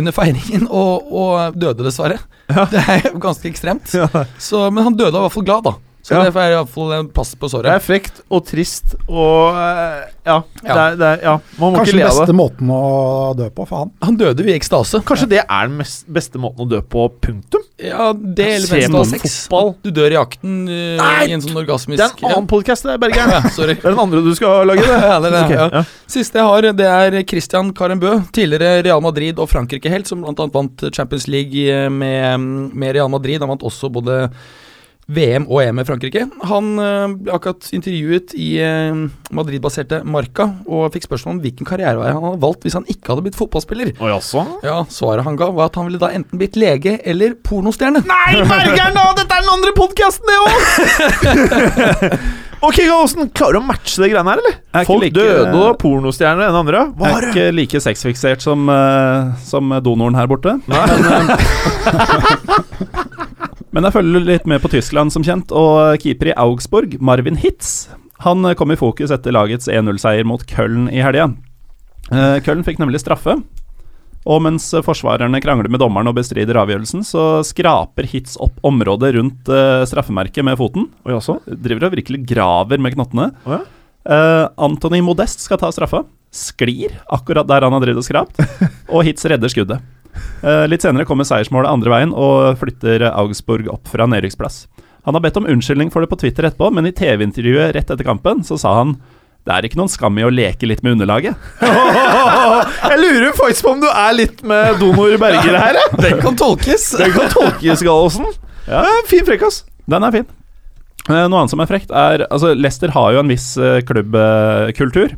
Speaker 4: under feiringen, og, og døde dessverre. Det er jo ganske ekstremt. Så, men han døde i hvert fall glad, da. Så
Speaker 1: Ja.
Speaker 4: det er i hvert fall en plass på
Speaker 1: Det
Speaker 4: såret.
Speaker 1: er frekt og trist og eh, ja, Det
Speaker 4: Ja.
Speaker 1: er, det er, ja. Man må ikke
Speaker 3: Kanskje den
Speaker 1: le av
Speaker 3: beste
Speaker 1: det.
Speaker 3: måten å dø på for han.
Speaker 4: Han døde jo i ekstase.
Speaker 1: Kanskje det er den mest, beste måten å dø på, punktum?
Speaker 4: Ja, det eller
Speaker 1: Se
Speaker 4: mens du
Speaker 1: på
Speaker 4: har sex.
Speaker 1: fotball.
Speaker 4: Du dør i akten eh,
Speaker 1: Nei!
Speaker 4: i en sånn orgasmisk
Speaker 1: Det er en annen podkast, Bergeren.
Speaker 4: ja. ja, sorry.
Speaker 1: Det er den andre du skal lage, det.
Speaker 4: Ja, det er det,
Speaker 1: Ok,
Speaker 4: ja.
Speaker 1: ja.
Speaker 4: Siste jeg har, det er Christian Carembø. Tidligere Real Madrid og Frankrike-helt, som bl.a. vant Champions League eh, med, med Real Madrid. Han vant også både VM og EM med Frankrike. Han eh, ble akkurat intervjuet i eh, Madrid-baserte Marca og fikk spørsmål om hvilken karrierevei han hadde valgt hvis han ikke hadde blitt fotballspiller.
Speaker 1: Å sånn. jaså?
Speaker 4: Ja, Svaret han ga, var at han ville da enten blitt lege eller pornostjerne.
Speaker 1: Nei, Bergeren, da! Dette er den andre podkasten, det òg! ok, Gallosen, klarer du å matche det greiene her, eller?
Speaker 2: Er ikke
Speaker 1: Folk
Speaker 2: like-
Speaker 1: døde og pornostjerner enn andre. Hva
Speaker 2: Jeg
Speaker 1: har
Speaker 2: er
Speaker 1: du?
Speaker 2: ikke like sexfiksert som, eh, som donoren her borte. eh, Men jeg følger litt med på Tyskland, som kjent, og keeper i Augsburg, Marvin Hitz, han eh, kom i fokus etter lagets 1-0-seier mot Köln i helga. Eh, Köln fikk nemlig straffe, og mens eh, forsvarerne krangler med dommeren og bestrider avgjørelsen, så skraper Hitz opp området rundt eh, straffemerket med foten.
Speaker 1: Å jaså?
Speaker 2: Driver og virkelig graver med knottene.
Speaker 1: Å ja.
Speaker 2: Eh, Anthony Modest skal ta straffa. Sklir akkurat der han har drevet og skrapt. Og Hitz redder skuddet. Eh, litt senere kommer seiersmålet andre veien og flytter Augsburg opp fra nedrykksplass. Han har bedt om unnskyldning for det på Twitter etterpå, men i TV-intervjuet rett etter kampen så sa han det er ikke noen skam i å leke litt med underlaget.
Speaker 1: Jeg lurer faktisk på om du er litt med donor Berger her, jeg.
Speaker 4: Den kan tolkes!
Speaker 1: Det kan tolkes, Gallosen.
Speaker 2: Ja.
Speaker 1: Ja, fin frekkas.
Speaker 2: Den er fin. Eh, Noe annet som er frekt, er altså Leicester har jo en viss eh, klubbkultur.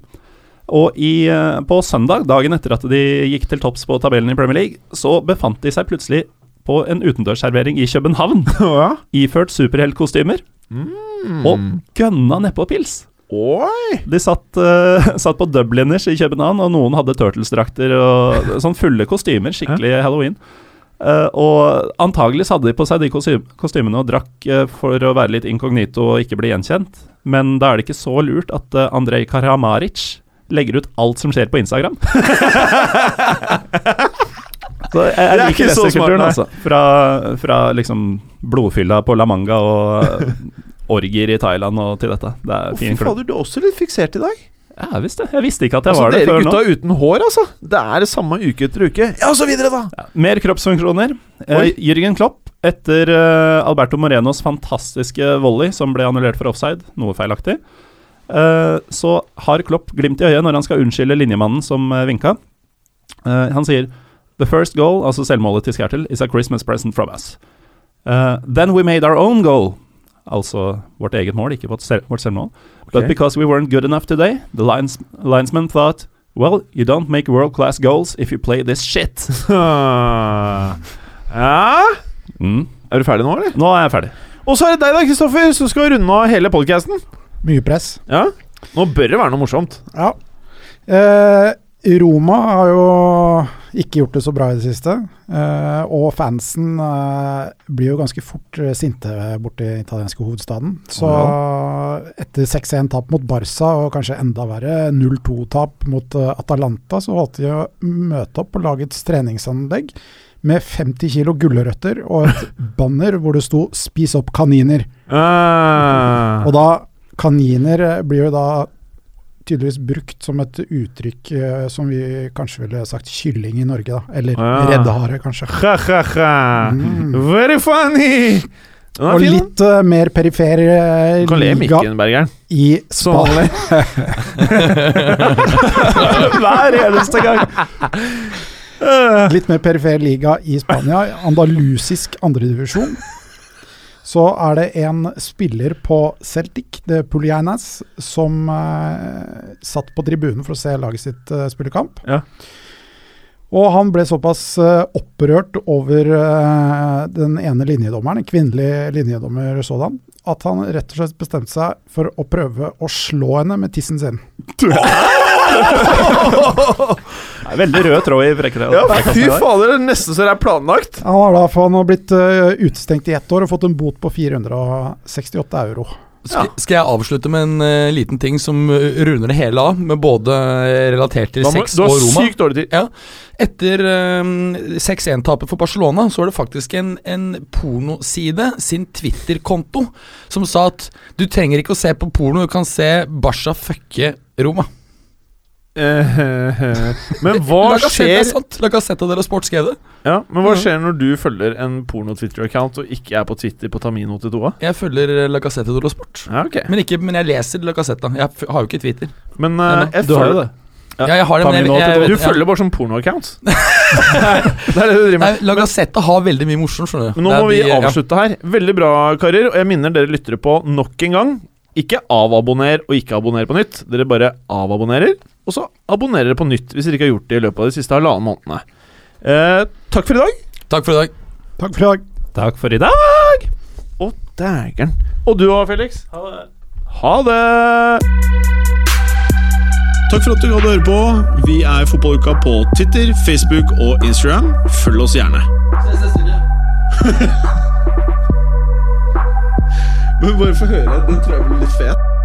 Speaker 2: Og i, eh, på søndag, dagen etter at de gikk til topps på tabellen i Premier League, så befant de seg plutselig på en utendørsservering i København,
Speaker 1: Å ja.
Speaker 2: iført superheltkostymer, og
Speaker 1: Mm.
Speaker 2: gønna nedpå pils.
Speaker 1: Oi!
Speaker 2: De satt, eh, satt på Dubliners i København, og noen hadde turtles-drakter og sånn fulle kostymer. Skikkelig halloween. Eh, og antagelig så hadde de på seg de kosty- kostymene og drakk eh, for å være litt inkognito og ikke bli gjenkjent. Men da er det ikke så lurt at eh, Andrej Karamaric legger ut alt som skjer på Instagram. så jeg, jeg
Speaker 1: Det er
Speaker 2: liker
Speaker 1: ikke så smart,
Speaker 2: lesterkulturen,
Speaker 1: nei.
Speaker 2: altså. Fra, fra liksom blodfylla på La Manga og eh, orgier i Thailand og til dette. Det
Speaker 1: Å,
Speaker 2: er
Speaker 1: Fy
Speaker 2: fin klubb.
Speaker 1: fader, du er også litt fiksert i dag.
Speaker 2: Ja visst det. Jeg visste ikke at jeg
Speaker 1: Altså,
Speaker 2: var det
Speaker 1: dere
Speaker 2: før nå.
Speaker 1: gutta uten hår, altså. Det er det samme uke etter uke. Ja, og så videre, da.
Speaker 2: Mer kroppsfunksjoner. Eh,
Speaker 1: Oi.
Speaker 2: Jørgen Klopp etter eh, Alberto Morenos fantastiske volley som ble annullert for offside, noe feilaktig. Eh, så har Klopp glimt i øyet når han skal unnskylde linjemannen som eh, vinka. Eh, han sier The first goal, altså selvmålet til Skertel, is a Christmas present from us. Eh, then we made our own goal. Altså vårt eget mål, ikke vårt, sel vårt selvmål. But
Speaker 1: Ok.
Speaker 2: because we weren't good enough today, the lines linesman thought Well, you don't make world class goals if you play this shit.
Speaker 1: Ja
Speaker 2: Mm.
Speaker 1: Er du ferdig nå, eller?
Speaker 2: Nå er jeg ferdig.
Speaker 1: Og så er det deg, da, Kristoffer, som skal runde av hele podkasten.
Speaker 3: Mye press.
Speaker 1: Ja. Nå bør det være noe morsomt.
Speaker 3: Ja. Eh, Roma har jo ikke gjort det så bra i det siste. Eh, og fansen eh, blir jo ganske fort eh, sinte borti den italienske hovedstaden. Så etter 6-1-tap mot Barca, og kanskje enda verre 0-2-tap mot eh, Atalanta, så valgte de å møte opp på lagets treningsanlegg med 50 kilo gulrøtter og et banner hvor det sto 'spis opp kaniner'.
Speaker 1: Ah.
Speaker 3: Og da, kaniner eh, blir jo da tydeligvis brukt som et uttrykk eh, som vi kanskje ville sagt kylling i Norge, da. Eller
Speaker 1: Ah.
Speaker 3: reddehare, kanskje.
Speaker 1: Ha, ha, ha.
Speaker 3: Mm.
Speaker 1: Very funny! Den
Speaker 3: Og
Speaker 1: er fin.
Speaker 3: litt eh, mer perifer eh,
Speaker 1: Du kan le,
Speaker 3: liga
Speaker 1: Mikken Bergeren.
Speaker 3: i Spania.
Speaker 2: Hver eneste gang.
Speaker 3: Litt mer perifer liga i Spania, andalusisk andredivisjon. Så er det en spiller på Celtic, det er Pulianas, som eh, satt på tribunen for å se laget sitt eh, spille kamp.
Speaker 1: Ja.
Speaker 3: Og han ble såpass eh, opprørt over eh, den ene linjedommeren, en kvinnelig linjedommer sådan, at han rett og slett bestemte seg for å prøve å slå henne med tissen sin.
Speaker 2: Det er Veldig rød tråd i frekkene.
Speaker 1: Ja, fy fader, det er nesten så det er planlagt.
Speaker 3: Han har da for han har blitt eh, utestengt i ett år og fått en bot på 468 euro.
Speaker 4: Skal, skal jeg avslutte med en eh, liten ting som eh, runder det hele av, med både eh, relatert til
Speaker 1: Da må,
Speaker 4: sex
Speaker 1: du
Speaker 4: og
Speaker 1: har
Speaker 4: Roma?
Speaker 1: sykt dårlig tid.
Speaker 4: Etter eh, 6-1-tapet for Barcelona, så var det faktisk en, en pornoside, sin Twitter-konto, som sa at du trenger ikke å se på porno, du kan se Barca fucke Roma.
Speaker 1: Eh, eh, eh. Men hva
Speaker 4: La Gazzetta er
Speaker 1: skjer
Speaker 4: sant. La Gazzetta dello Sport skrev det.
Speaker 1: ja, Men hva skjer når du følger en porno-Twitter-account og ikke er på Twitter på Tamin82?
Speaker 4: Jeg følger eh, La Gazzetta dello Sport.
Speaker 1: Ja, ok
Speaker 4: Men, ikke, men jeg leser La Gazzetta. Jeg f har jo ikke Twitter.
Speaker 1: Men
Speaker 4: Ja, men
Speaker 1: eh, jeg
Speaker 2: Du har jo
Speaker 1: følger-
Speaker 2: det.
Speaker 4: Ja, jeg har det, men jeg, jeg,
Speaker 1: Tamin82.
Speaker 4: jeg,
Speaker 1: Du
Speaker 4: vet- ja.
Speaker 1: følger bare sånn porno-accounts. det er det du driver med.
Speaker 4: Nei, La Gazzetta har veldig mye morsomt, skjønner du.
Speaker 1: Men nå
Speaker 4: Det er
Speaker 1: må vi
Speaker 4: de- ja.
Speaker 1: avslutte her. Veldig bra, karer. Og jeg minner dere lyttere på nok en gang. Ikke avabonner og ikke abonner på nytt. Dere bare avabonnerer, og så abonnerer dere på nytt hvis dere ikke har gjort det i løpet av de siste halvannen månedene. Eh, takk for i dag.
Speaker 4: Takk for i dag.
Speaker 3: Takk for i dag.
Speaker 2: Takk for i dag.
Speaker 1: Å, dægeren. Og du òg, Felix. Ha det. Ha det.
Speaker 5: Takk for at du hadde høre på. Vi er Fotballuka på Twitter, Facebook og Instagram. Følg oss gjerne. Men bare få høre. Den tror jeg blir litt fet.